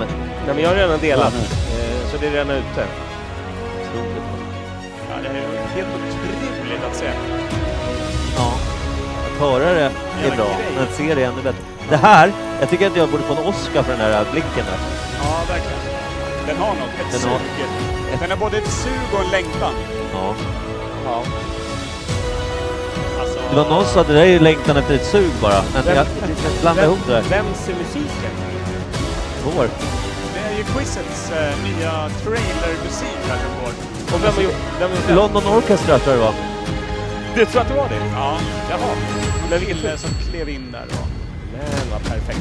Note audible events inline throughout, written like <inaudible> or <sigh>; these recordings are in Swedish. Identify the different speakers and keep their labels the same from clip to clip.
Speaker 1: Nej, men jag har redan delat,
Speaker 2: Mm.
Speaker 1: eh, så det är redan ute.
Speaker 2: Otroligt alltså.
Speaker 3: Ja, det här är ju helt otroligt att se.
Speaker 2: Ja. Att höra det är
Speaker 3: Jävla
Speaker 2: bra,
Speaker 3: grej.
Speaker 2: men att se det är ännu bättre. Det här, jag tycker att jag borde få en Oscar för den här blicken. Där.
Speaker 3: Ja, verkligen. Den har något. Ett
Speaker 2: Den har-
Speaker 3: sug. Den har både ett sug och en längtan.
Speaker 2: Ja.
Speaker 3: Ja. Alltså,
Speaker 2: Det var någon som sa att det där är ju längtan efter ett sug bara. Men jag blandade ihop det där.
Speaker 1: Vems är musiken?
Speaker 2: Vår.
Speaker 3: det är ju Quizets eh, nya trailermusik här som går.
Speaker 1: Och vem har gjort, vem har gjort den?
Speaker 2: London Orchestra tror jag det var.
Speaker 1: Du tror att det var det?
Speaker 3: Ja, jaha.
Speaker 1: Men
Speaker 3: Den
Speaker 1: vilket
Speaker 3: kille som klev in där då.
Speaker 1: Men vad perfekt.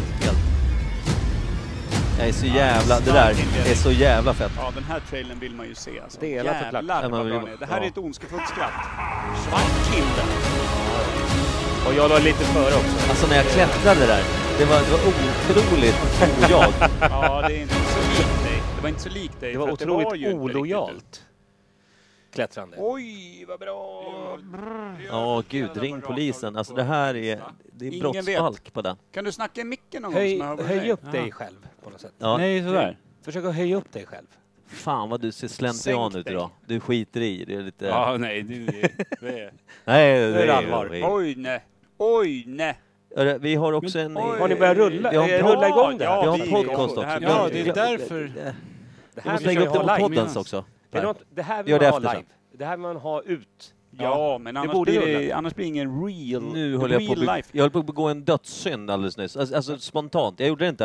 Speaker 2: Jag är så jävla... Det där är så jävla fett.
Speaker 3: Ja, den här trailern vill man ju se alltså.
Speaker 1: Delat och klart.
Speaker 3: Jävlar
Speaker 2: Ja,
Speaker 3: vad
Speaker 2: man
Speaker 3: bra
Speaker 2: vill-
Speaker 3: den är. Det här
Speaker 2: ja.
Speaker 3: är ett ondskefullt skratt. Schwarzkind.
Speaker 1: Och jag låg lite före också.
Speaker 2: Alltså när jag klättrade där. Det var, det var otroligt ojag.
Speaker 3: <laughs> Ja, det är inte så likt dig. Det var inte så likt dig.
Speaker 1: Det var
Speaker 3: för att
Speaker 1: otroligt
Speaker 3: ju inte riktigt du.
Speaker 1: olojalt. Klättrande.
Speaker 3: Oj, vad bra!
Speaker 2: <laughs> Ja, gud. Ring polisen. Alltså det här är... Det är
Speaker 3: Ingen vet.
Speaker 2: brottsbalk på den.
Speaker 3: Kan du snacka i micken någon gång?
Speaker 1: Höj,
Speaker 3: som jag hör
Speaker 1: höj
Speaker 3: dig?
Speaker 1: upp dig själv på något sätt.
Speaker 2: Ja.
Speaker 4: Nej, sådär.
Speaker 1: Försök att höja upp dig själv.
Speaker 2: Fan vad du ser slentrian
Speaker 3: Sänk
Speaker 2: ut
Speaker 3: dig.
Speaker 2: idag. Du skiter i. Det är lite...
Speaker 4: Ja, nej, du är... det är-
Speaker 2: Nej, det
Speaker 1: är
Speaker 2: är
Speaker 1: <laughs> det allvar.
Speaker 2: allvar.
Speaker 3: Oj, nej. Oj, nej.
Speaker 2: Vi har också en...
Speaker 3: Oj.
Speaker 1: Har ni börjat rulla,
Speaker 2: Vi har en
Speaker 1: eh,
Speaker 2: podd-
Speaker 1: rulla igång det här?
Speaker 3: Ja,
Speaker 2: Vi har en
Speaker 3: vi-
Speaker 2: podcast också.
Speaker 3: det här-
Speaker 4: Ja,
Speaker 3: det
Speaker 4: det
Speaker 3: är
Speaker 4: är därför...
Speaker 1: Det
Speaker 2: Vi
Speaker 1: här
Speaker 2: måste
Speaker 1: vill
Speaker 2: lägga
Speaker 1: man
Speaker 2: upp det
Speaker 1: ju
Speaker 2: på
Speaker 1: ha live.
Speaker 2: poddens också.
Speaker 1: Det, är något, det här vill
Speaker 2: Gör
Speaker 1: man
Speaker 2: det
Speaker 1: ha
Speaker 2: efter sen.
Speaker 1: live. Det här vill man ha ut.
Speaker 3: Ja, men annars
Speaker 1: borde
Speaker 3: blir
Speaker 1: ju
Speaker 3: det,
Speaker 1: rulla.
Speaker 3: annars blir det ingen real,
Speaker 2: Nu
Speaker 3: real
Speaker 2: håller jag på att be-
Speaker 3: life.
Speaker 2: jag höll på att begå en dödssynd alldeles nyss. Alltså, alltså spontant, jag gjorde det inte.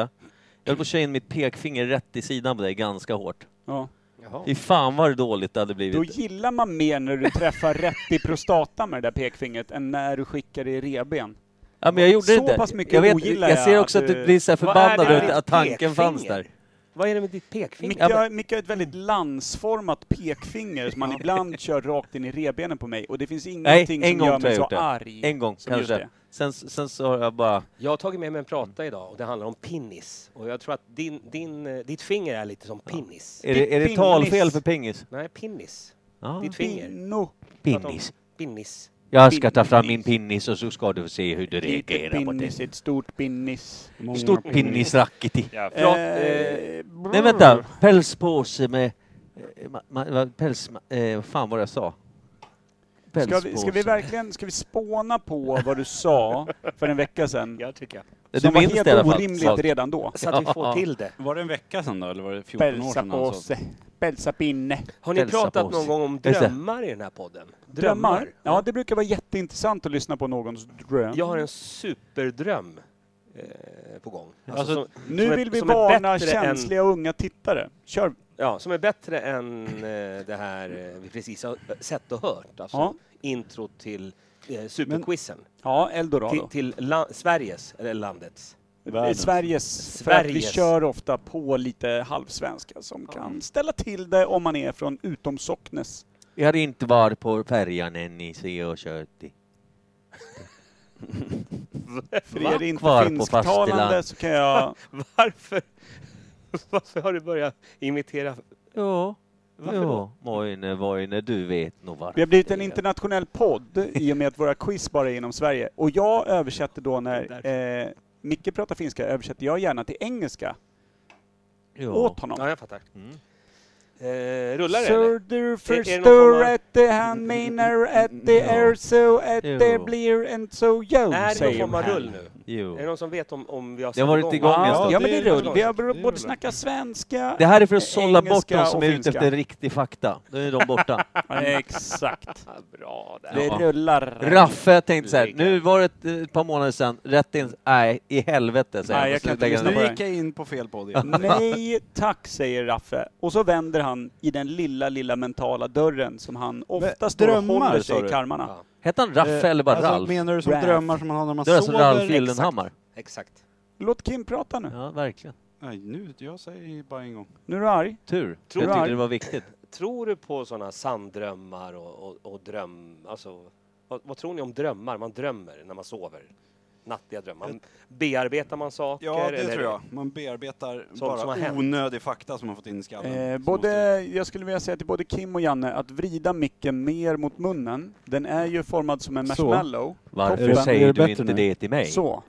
Speaker 2: Jag höll på att köra in mitt pekfinger rätt i sidan på dig ganska hårt.
Speaker 3: Ja.
Speaker 1: Jaha.
Speaker 2: Fy fan vad dåligt det hade
Speaker 3: Då
Speaker 2: blivit.
Speaker 3: gillar man mer när du träffar rätt i prostata med det där pekfingret än när du skickar det i revben.
Speaker 2: Ja, men jag gjorde
Speaker 3: så
Speaker 2: det inte.
Speaker 3: pass mycket
Speaker 2: jag, vet,
Speaker 3: ogillar
Speaker 2: jag ser
Speaker 3: jag
Speaker 2: också
Speaker 3: att
Speaker 2: att
Speaker 3: du-
Speaker 2: du blir så här
Speaker 1: Vad är
Speaker 2: förbannad
Speaker 1: det
Speaker 2: över
Speaker 1: med
Speaker 2: att
Speaker 1: ditt
Speaker 2: tanken fanns
Speaker 1: pekfinger?
Speaker 2: där.
Speaker 1: Vad är det med ditt pekfinger?
Speaker 3: Micke
Speaker 2: Ja, men-
Speaker 3: har, Micke har ett väldigt landsformat pekfinger som han ibland kör rakt in i revbenen på mig och det finns ingenting
Speaker 2: en
Speaker 3: som
Speaker 2: gång
Speaker 3: gör
Speaker 2: tror jag
Speaker 3: mig så
Speaker 2: gjort det.
Speaker 3: arg.
Speaker 2: En gång
Speaker 3: som just
Speaker 2: kanske. Sen, sen så har jag bara...
Speaker 1: Jag har tagit med mig en prata idag och det handlar om pinnis. Och jag tror att din, din, eh, ditt finger är lite som pinnis.
Speaker 2: Är det, är det
Speaker 3: Pingis.
Speaker 2: talfel för pingis?
Speaker 1: Nej, pinnis.
Speaker 2: Eh. Ja.
Speaker 1: Ditt finger.
Speaker 3: Pinno.
Speaker 2: Pinnis.
Speaker 1: Pinnis.
Speaker 2: Jag ska ta fram min
Speaker 3: Pinnis.
Speaker 2: pinnis och så ska du se hur du
Speaker 3: Litet
Speaker 2: reagerar på
Speaker 3: pinnis,
Speaker 2: det.
Speaker 3: ett stort pinnis.
Speaker 2: Stort pinnisrackety.
Speaker 4: Ja,
Speaker 3: Bra,
Speaker 1: eh,
Speaker 2: Nej vänta, pälspåse med... eh, ma- ma- va- Päls... ma- eh, Vad fan var det jag sa? eh,
Speaker 3: Ska vi, ska vi verkligen ska vi spåna på vad du sa för en vecka sedan?
Speaker 4: Jag tycker jag.
Speaker 2: Du
Speaker 3: som var
Speaker 2: minns
Speaker 3: helt
Speaker 2: det i alla fall.
Speaker 3: orimligt
Speaker 2: Svagt.
Speaker 3: redan då.
Speaker 1: Så att vi får till det.
Speaker 4: Var det en vecka sedan då, eller var det 14 år
Speaker 3: Pälsa
Speaker 4: sedan? alltså. han sa?
Speaker 3: påse, pälsa pinne.
Speaker 1: Har ni
Speaker 2: Hälsa på
Speaker 1: pratat
Speaker 2: oss.
Speaker 1: någon gång om
Speaker 2: Just det.
Speaker 1: drömmar i den här podden?
Speaker 3: Drömmar? Ja, det brukar vara jätteintressant att lyssna på någons dröm.
Speaker 1: Jag har en superdröm eh, på gång. Alltså,
Speaker 4: Alltså,
Speaker 1: som, som
Speaker 3: nu
Speaker 1: är-
Speaker 3: vill vi
Speaker 1: som är
Speaker 3: varna
Speaker 1: bättre än-
Speaker 3: känsliga unga tittare. Kör!
Speaker 1: ja, som är bättre än eh, det här eh, vi precis har eh, sett och hört. Alltså,
Speaker 3: Ja.
Speaker 1: Intro till eh, superquizen.
Speaker 3: Ja,
Speaker 1: Till,
Speaker 3: Eldorado.
Speaker 1: till la- Sveriges, eller landets.
Speaker 3: <laughs> I Sveriges. För att vi
Speaker 1: Sveriges.
Speaker 3: kör ofta på lite halvsvenska som kan ställa till det om man är från utomsocknes.
Speaker 2: Jag hade inte varit på färjan än i se och kört i.
Speaker 3: För er inte
Speaker 2: Kvar på
Speaker 3: finsktalande
Speaker 2: fastland.
Speaker 3: så kan jag...
Speaker 1: Varför? <laughs> Varför har du börjat imitera?
Speaker 2: Ja. Ja, Moine, Moine, du vet nog
Speaker 3: Vi
Speaker 2: varför.
Speaker 3: har blivit en internationell podd i och med att våra quiz bara är inom Sverige. Och jag översätter då när eh, Micke pratar finska, översätter jag gärna till engelska
Speaker 2: Ja.
Speaker 3: åt honom.
Speaker 1: Ja, jag fattar. Eh, rullar det eller?
Speaker 3: Surder
Speaker 1: någon
Speaker 3: förstår
Speaker 1: form av-
Speaker 3: att det han menar att det
Speaker 2: Ja.
Speaker 3: är så att det
Speaker 2: Jo.
Speaker 3: blir en så jo,
Speaker 1: Är det någon
Speaker 3: säger
Speaker 1: form av
Speaker 3: han.
Speaker 1: rull nu? Är det
Speaker 2: Jo.
Speaker 1: någon som vet om, om vi har
Speaker 2: Det har varit igång en
Speaker 3: Ja,
Speaker 1: alltså.
Speaker 2: stund.
Speaker 3: ja, men det är rull. Vi har
Speaker 4: Det är
Speaker 3: både
Speaker 4: rull.
Speaker 3: snackat svenska...
Speaker 2: Det här är för att sålla bort
Speaker 3: Engelska
Speaker 2: de som
Speaker 3: och
Speaker 2: är ute
Speaker 3: finska.
Speaker 2: efter riktig fakta. Då är de borta.
Speaker 3: Exakt.
Speaker 1: Bra där.
Speaker 3: Det
Speaker 2: Ja.
Speaker 3: rullar.
Speaker 2: Raffe jag tänkte så här, nu var det ett, ett par månader sedan, rätt in, nej, i helvete säger
Speaker 3: Nej, jag
Speaker 2: Och så
Speaker 3: kan inte
Speaker 2: lägger han
Speaker 3: lyssna
Speaker 2: den på-
Speaker 3: på det.
Speaker 4: Nu gick jag in på fel podd igen.
Speaker 3: Nej tack, säger Raffe. Och så vänder han i den lilla, lilla mentala dörren som han ofta står och
Speaker 4: drömmar,
Speaker 3: håller
Speaker 4: sa
Speaker 3: sig i
Speaker 4: du?
Speaker 3: karmarna.
Speaker 2: Hette han Raffe eller bara
Speaker 4: alltså,
Speaker 2: Ralf?
Speaker 4: Menar du som
Speaker 3: Ralf.
Speaker 4: drömmar som man har när man
Speaker 2: Det är alltså
Speaker 4: sover?
Speaker 2: Ralf Gyllenhammar.
Speaker 1: Exakt.
Speaker 3: Låt Kim prata nu.
Speaker 2: Ja, verkligen.
Speaker 4: Nej, nu, jag säger bara en gång.
Speaker 3: Nu är du arg.
Speaker 2: Tur.
Speaker 1: Tror
Speaker 2: jag
Speaker 3: du
Speaker 2: tyckte
Speaker 3: det?
Speaker 2: det var viktigt.
Speaker 1: Tror du på sådana sanddrömmar och, och, och dröm... Alltså, vad, vad tror ni om drömmar? Man drömmer när man sover. Nattliga drömmar. Man, bearbetar man saker?
Speaker 4: Mm. Ja, det
Speaker 1: eller-
Speaker 4: tror jag. Man bearbetar
Speaker 1: Sånt som har
Speaker 4: bara
Speaker 1: hänt.
Speaker 4: onödig fakta som man fått in i skallen.
Speaker 3: Eh,
Speaker 4: Som
Speaker 3: både,
Speaker 4: måste-
Speaker 3: jag skulle vilja säga till både Kim och Janne att vrida micken mer mot munnen. Den är ju formad som en
Speaker 4: Så.
Speaker 3: marshmallow.
Speaker 2: Varför
Speaker 3: Toppen.
Speaker 4: Är det
Speaker 2: säger du
Speaker 4: bättre
Speaker 2: inte
Speaker 4: nu?
Speaker 2: det till mig?
Speaker 3: Så.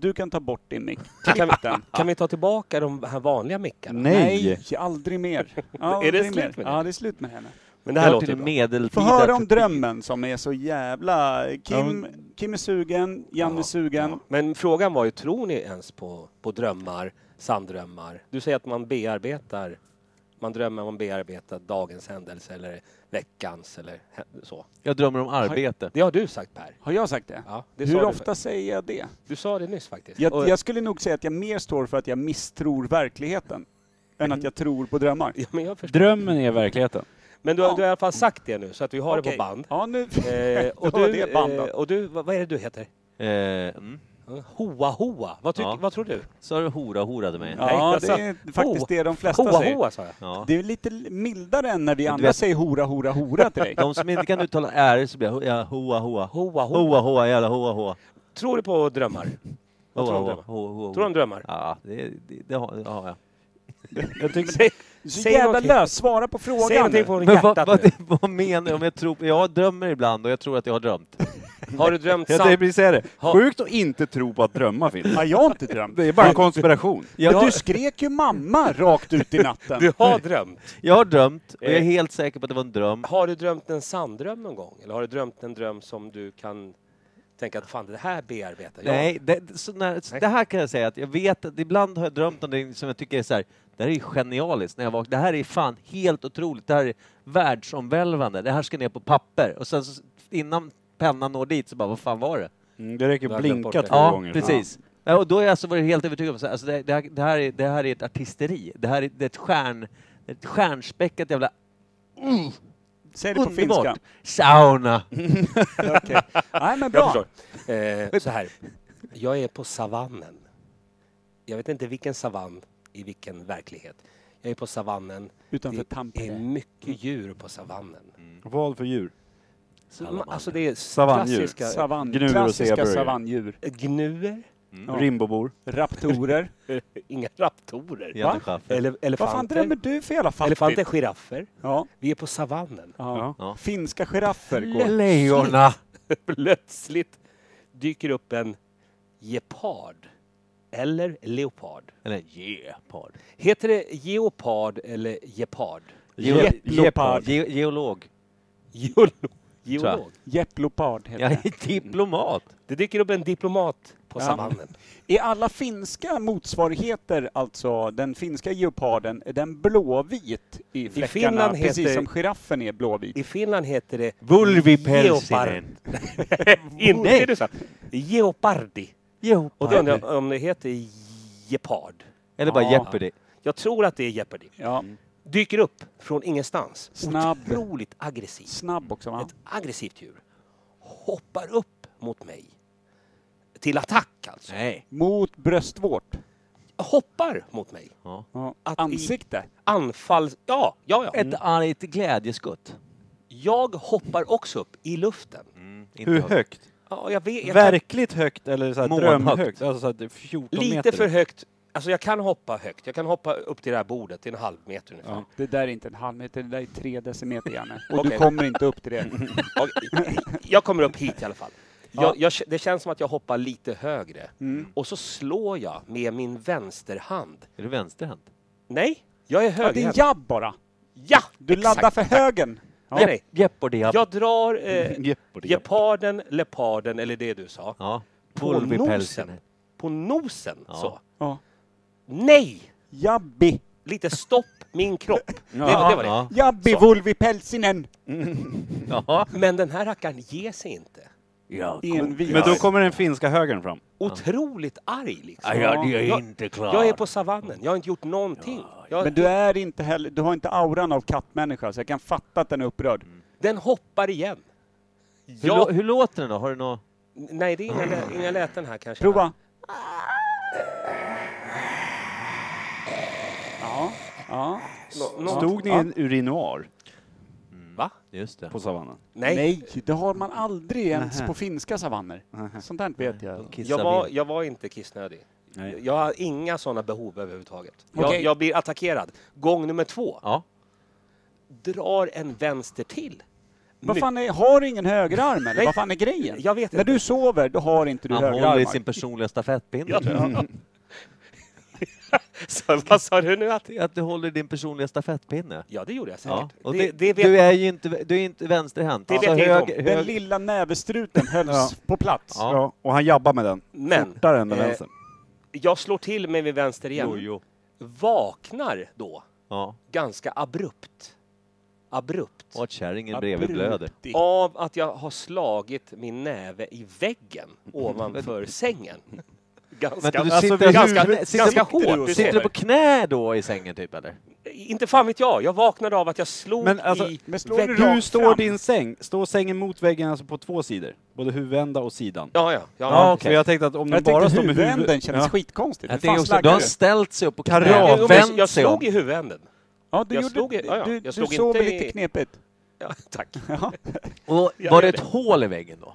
Speaker 3: Du kan ta bort din mick.
Speaker 1: Kan vi,
Speaker 3: Klipp den.
Speaker 1: kan vi ta tillbaka de här vanliga mickarna?
Speaker 4: Nej!
Speaker 3: aldrig mer. Ja,
Speaker 1: Är det
Speaker 3: aldrig
Speaker 1: slut
Speaker 3: mer.
Speaker 1: med det?
Speaker 3: Ja, det är slut med henne.
Speaker 1: Men det
Speaker 2: Det
Speaker 1: här
Speaker 2: här låter
Speaker 1: låter
Speaker 2: till
Speaker 1: bra.
Speaker 2: medeltida
Speaker 3: Få höra om
Speaker 2: kultur.
Speaker 3: drömmen som är så jävla...
Speaker 4: Ja,
Speaker 3: Kim, Kim är sugen, Janne är
Speaker 1: Ja,
Speaker 3: sugen.
Speaker 1: Men frågan var ju, tror ni ens på, på drömmar, sanddrömmar? Du säger att man bearbetar, man drömmer om att bearbeta dagens händelse eller veckans eller hä- så.
Speaker 2: Jag drömmer om arbete.
Speaker 1: Det har du sagt Per.
Speaker 3: Har jag sagt det?
Speaker 1: Ja, det
Speaker 3: Hur
Speaker 1: sa
Speaker 3: ofta
Speaker 1: Du,
Speaker 3: säger jag det?
Speaker 1: du sa det nyss faktiskt.
Speaker 3: Jag,
Speaker 1: Och-
Speaker 3: jag skulle nog säga att jag mer står för att jag misstror verkligheten än att jag tror på drömmar.
Speaker 1: ja, men jag förstår.
Speaker 4: Drömmen är verkligheten.
Speaker 1: Men du, har-
Speaker 3: Ja.
Speaker 1: du har i alla fall sagt det nu så att vi har det
Speaker 3: Okej. <laughs>
Speaker 1: på band.
Speaker 3: Ja, nu...
Speaker 1: Eh, och,
Speaker 3: Det var
Speaker 1: du,
Speaker 3: det bandet.
Speaker 1: eh, och du, vad, vad är det du heter?
Speaker 2: Eh, mm.
Speaker 1: Hoa Hoa. Vad, tyck,
Speaker 2: Ja.
Speaker 1: vad tror du?
Speaker 2: Så du hora horade mig.
Speaker 1: Nej,
Speaker 3: Ja,
Speaker 1: alltså,
Speaker 3: det är faktiskt
Speaker 1: ho-
Speaker 3: det de flesta
Speaker 1: Hoa
Speaker 3: säger.
Speaker 1: Hoa sa jag.
Speaker 2: Ja.
Speaker 3: Det är lite l- mildare än när vi
Speaker 2: du
Speaker 3: andra
Speaker 2: vet-
Speaker 3: säger hora, hora, hora
Speaker 1: <laughs>
Speaker 3: till dig.
Speaker 2: De som inte kan uttala R så blir jag ho- ja, hoa hoa.
Speaker 1: Hoa Hoa.
Speaker 2: Hoa hoa jävla hoa hoa.
Speaker 1: Tror du på drömmar? Vad
Speaker 2: Hoa
Speaker 1: tror du
Speaker 2: hoa.
Speaker 1: om drömmar?
Speaker 2: Hoa, hoa,
Speaker 1: Tror du om
Speaker 2: hoa.
Speaker 1: drömmar?
Speaker 2: Ja, det, det, det har, det har jag.
Speaker 1: Jag säg,
Speaker 3: Så
Speaker 1: säg
Speaker 3: jävla
Speaker 1: någonting.
Speaker 3: lös, svara på frågan.
Speaker 1: säg någonting
Speaker 3: nu.
Speaker 1: från
Speaker 2: Men vad,
Speaker 1: hjärtat
Speaker 2: vad,
Speaker 1: nu.
Speaker 2: <laughs> vad menar du? Om jag, tror, jag drömmer ibland och jag tror att jag har drömt.
Speaker 1: Har du
Speaker 4: <laughs>
Speaker 1: drömt
Speaker 4: Jag tänkte
Speaker 1: sant?
Speaker 4: precis säga det.
Speaker 1: Ha.
Speaker 4: Sjukt att inte tro på att drömma, Phil.
Speaker 3: Ja, jag har inte drömt.
Speaker 4: Det är bara en konspiration.
Speaker 2: Jag,
Speaker 3: Men
Speaker 2: har-
Speaker 3: du skrek ju mamma rakt ut i natten.
Speaker 1: Du har drömt.
Speaker 2: jag har drömt och jag är
Speaker 1: Eh.
Speaker 2: helt säker på att det var en dröm.
Speaker 1: Har du drömt en sanddröm någon gång? Eller har du drömt en dröm som du kan tänka att fan det här bearbetar jag?
Speaker 2: Nej, det, så när, så
Speaker 1: Nej.
Speaker 2: det här kan jag säga att jag vet att ibland har jag drömt om det som jag tycker är så här, det här är ju genialiskt när jag vaknar. Det här är fan helt otroligt. Det här är världsomvälvande. Det här ska ner på papper. Och sen så, innan pennan når dit så bara, vad fan var det?
Speaker 4: Mm, det räcker
Speaker 1: Du
Speaker 4: att
Speaker 1: har glömt bort
Speaker 4: blinka
Speaker 1: det.
Speaker 4: två
Speaker 2: ja,
Speaker 4: gånger.
Speaker 2: precis. Ja. och då har jag alltså varit helt övertygad om att alltså det, det, här, det, här är- det här är ett artisteri. Det här är, det är ett, stjärn, ett stjärnspäckat jävla
Speaker 3: Säg det på finska.
Speaker 2: underbart sauna.
Speaker 3: Okej. Nej, men
Speaker 1: Jag
Speaker 3: bra.
Speaker 1: förstår. Eh, så här. Jag är på savannen. Jag vet inte vilken savann i vilken verklighet. Jag är på savannen.
Speaker 3: Utanför
Speaker 1: Det är
Speaker 3: Tampere.
Speaker 1: mycket djur på savannen.
Speaker 4: Vad Mm. för djur?
Speaker 1: Så,
Speaker 2: Salamander.
Speaker 1: alltså det är
Speaker 4: Savanndjur.
Speaker 1: klassiska
Speaker 3: Savann,
Speaker 4: Gnuer och
Speaker 3: klassiska
Speaker 4: zebror.
Speaker 3: savanndjur.
Speaker 1: gnuer,
Speaker 2: Mm.
Speaker 3: Ja.
Speaker 4: Rimbobor?
Speaker 3: Raptorer.
Speaker 1: inga raptorer.
Speaker 2: Jätteschaff.
Speaker 1: Ele
Speaker 3: Vad fan
Speaker 1: elefanter.
Speaker 3: drömmer du för jävla fattigt?
Speaker 1: Elefanter, giraffer.
Speaker 3: Ja.
Speaker 1: Vi är på savannen.
Speaker 3: Ja.
Speaker 2: Ja.
Speaker 3: Finska giraffer går.
Speaker 2: Leona.
Speaker 1: <laughs> Plötsligt dyker upp en gepard. Eller leopard.
Speaker 2: Eller gepard.
Speaker 1: Heter det geopard eller gepard?
Speaker 2: Ge-
Speaker 3: Jeppleopard.
Speaker 2: Ge- geolog.
Speaker 1: Geolog. Geolog.
Speaker 3: Jepplopard heter
Speaker 2: Jag
Speaker 3: det.
Speaker 2: är diplomat.
Speaker 1: Det dyker upp en diplomat på
Speaker 3: Ja.
Speaker 1: savannen.
Speaker 3: Är alla finska motsvarigheter, alltså den finska geoparden, är den blåvit i fläckarna?
Speaker 1: Finland heter-
Speaker 3: Precis som giraffen är blåvit.
Speaker 1: I Finland heter det geopard.
Speaker 2: Vulvipelsinen.
Speaker 1: <laughs> Inte är det så. Geopardi. Och då undrar
Speaker 2: Geopard.
Speaker 1: jag om det heter gepard.
Speaker 2: Eller bara
Speaker 3: Ja.
Speaker 2: Jeopardy.
Speaker 1: Jag tror att det är Jeopardy.
Speaker 3: Ja.
Speaker 1: Dyker upp från ingenstans.
Speaker 3: Snabb.
Speaker 1: Otroligt aggressiv.
Speaker 3: Snabb också va?
Speaker 1: ett aggressivt djur hoppar upp mot mig. Till attack alltså.
Speaker 3: E.
Speaker 2: Nej.
Speaker 3: Mot bröstvårt.
Speaker 1: Hoppar mot mig.
Speaker 2: Ja.
Speaker 3: Ja.
Speaker 1: Att i-
Speaker 3: Ansikte.
Speaker 1: Anfall. Ja, ja, ja.
Speaker 2: Ett argt glädjeskutt.
Speaker 1: Jag hoppar också upp i luften.
Speaker 2: Mm, Inte
Speaker 4: Hur
Speaker 2: högt.
Speaker 4: högt?
Speaker 1: Ja, jag vet, jag kan,
Speaker 4: Verkligt högt eller så här
Speaker 2: Månhögt.
Speaker 4: drömhögt? Alltså så här 14 meter?
Speaker 1: lite för högt. Alltså jag kan hoppa högt. Jag kan hoppa upp till det här bordet, till en halv meter ungefär.
Speaker 4: Ja.
Speaker 3: Det där är inte en halv meter, det där är tre decimeter Janne. <laughs> Mm. Och du
Speaker 1: Okej.
Speaker 3: kommer inte upp till det.
Speaker 1: Okej, Jag kommer upp hit i alla fall.
Speaker 3: Ja.
Speaker 1: Jag, jag, det känns som att jag hoppar lite högre.
Speaker 3: Mm.
Speaker 1: Och så slår jag med min vänsterhand.
Speaker 2: Är du vänsterhänt?
Speaker 1: Nej, jag är
Speaker 3: Ja, det är
Speaker 1: högerhänt.
Speaker 3: jabb bara.
Speaker 1: Ja,
Speaker 3: Du
Speaker 1: exakt.
Speaker 3: laddar för högen. Ja.
Speaker 1: Nej, nej.
Speaker 2: Jeopardy. Ja.
Speaker 1: Jag drar eh,
Speaker 4: Jeopardy.
Speaker 1: geparden, leoparden eller det du sa.
Speaker 2: ja.
Speaker 1: På
Speaker 2: Vulvipelsinen.
Speaker 1: nosen. På nosen
Speaker 2: Ja.
Speaker 1: så.
Speaker 3: Ja.
Speaker 1: Nej!
Speaker 3: Jabbi.
Speaker 1: Lite stopp min kropp.
Speaker 4: Ja.
Speaker 1: Det, var- det var det.
Speaker 2: Ja.
Speaker 3: Jabbi
Speaker 1: Så.
Speaker 3: vulvi pelsinen.
Speaker 2: Ja.
Speaker 1: Men den här rackaren ger sig inte.
Speaker 2: Ja.
Speaker 3: Envis.
Speaker 4: Men då kommer den finska högern fram.
Speaker 1: Otroligt arg liksom.
Speaker 2: Ja, det är
Speaker 1: Jag-
Speaker 2: inte klart.
Speaker 1: Jag är på savannen. Jag har inte gjort någonting. Jag,
Speaker 3: Men du är inte heller, du har inte auran av kattmänniska så jag kan fatta att den är upprörd.
Speaker 1: Den hoppar igen.
Speaker 2: Hur,
Speaker 1: Jag,
Speaker 2: lå- hur låter den då? Har du något?
Speaker 1: nej, det är inga, lä- inga läten här kanske.
Speaker 3: Prova. Ja, ja.
Speaker 1: Nå, nå,
Speaker 4: Stod ni i en urinoar
Speaker 1: Va?
Speaker 2: Just det.
Speaker 4: på savannen?
Speaker 1: Nej.
Speaker 3: Nej, det har man aldrig ens
Speaker 4: Nähä.
Speaker 3: på finska savanner. Sånt där vet jag.
Speaker 2: Kissa
Speaker 1: Jag var,
Speaker 2: vilt.
Speaker 1: jag var inte kissnödig.
Speaker 4: Nej.
Speaker 1: Jag har inga sådana behov överhuvudtaget. Jag,
Speaker 3: Okej.
Speaker 1: jag blir attackerad. Gång nummer två.
Speaker 2: Ja.
Speaker 1: Drar en vänster till.
Speaker 3: Vad fan är, har du ingen högerarm eller?
Speaker 1: Nej.
Speaker 3: Vad fan är grejen?
Speaker 1: Jag vet
Speaker 3: När
Speaker 1: inte.
Speaker 3: du sover, då har inte du
Speaker 2: Han håller i
Speaker 3: högerarmar.
Speaker 2: sin personliga stafettpinne.
Speaker 1: Ja.
Speaker 2: tror jag.
Speaker 1: Så, vad sa du nu? Att...
Speaker 2: Det är Att du håller i din personliga stafettpinne.
Speaker 1: Ja, det gjorde jag säkert.
Speaker 2: Ja. Och
Speaker 1: det,
Speaker 2: det,
Speaker 1: det vet
Speaker 2: du är ju inte, du är inte vänsterhänt. Alltså,
Speaker 1: Det
Speaker 2: Så
Speaker 1: vet jag inte om.
Speaker 3: Den lilla nävestruten hölls
Speaker 4: Ja.
Speaker 3: på plats.
Speaker 2: Ja.
Speaker 4: Ja, och han jabbar med den.
Speaker 1: Men
Speaker 4: Fortare än den
Speaker 1: eh,
Speaker 4: vänstern.
Speaker 1: jag slår till mig vid vänster igen.
Speaker 2: Jo, jo.
Speaker 1: Vaknar då
Speaker 2: Ja.
Speaker 1: ganska abrupt. Abrupt.
Speaker 2: Och att kärringen bredvid blöder.
Speaker 3: Abrupti.
Speaker 1: Av att jag har slagit min näve i väggen <laughs> ovanför sängen. Ganska,
Speaker 2: Vänta, du
Speaker 1: alltså,
Speaker 2: sitter-
Speaker 1: ganska,
Speaker 2: sitter-
Speaker 1: ganska
Speaker 2: sitter
Speaker 1: hårt. Du
Speaker 2: Sitter du
Speaker 1: ser.
Speaker 2: på knä då i sängen typ eller?
Speaker 1: Eh, Inte fan vet jag. Jag vaknade av att jag slog
Speaker 4: Men alltså,
Speaker 1: i
Speaker 3: men slår
Speaker 1: väggen.
Speaker 3: du
Speaker 4: Hur
Speaker 3: rakt
Speaker 4: står
Speaker 3: fram.
Speaker 4: din säng? Står sängen mot väggen alltså på två sidor? Både huvudända och sidan?
Speaker 1: Ja, ja. ja.
Speaker 2: Ja, okej.
Speaker 4: Så jag tänkte att om den
Speaker 3: Jag
Speaker 4: bara
Speaker 3: tänkte
Speaker 4: står med
Speaker 3: huvudänden
Speaker 4: huvudet...
Speaker 3: kändes skitkonstigt.
Speaker 2: Jag
Speaker 3: Hur fan
Speaker 2: tänker också, du
Speaker 3: slaggar
Speaker 2: har
Speaker 3: du?
Speaker 2: ställt sig upp på knä,
Speaker 4: Karat.
Speaker 1: Jo, men
Speaker 2: vänt
Speaker 1: Eh, jag
Speaker 2: sig
Speaker 1: slog
Speaker 2: om.
Speaker 1: i huvudänden.
Speaker 3: Ja, du
Speaker 1: jag
Speaker 3: gjorde,
Speaker 1: slog i- ja, ja.
Speaker 3: du,
Speaker 1: Jag
Speaker 3: du
Speaker 1: slog
Speaker 3: sov
Speaker 1: inte i-
Speaker 3: lite knepigt.
Speaker 1: Ja,
Speaker 2: <laughs>
Speaker 1: tack.
Speaker 3: Ja.
Speaker 2: Och
Speaker 1: Jag
Speaker 2: var det
Speaker 1: gör
Speaker 2: ett
Speaker 1: det.
Speaker 2: hål i väggen då?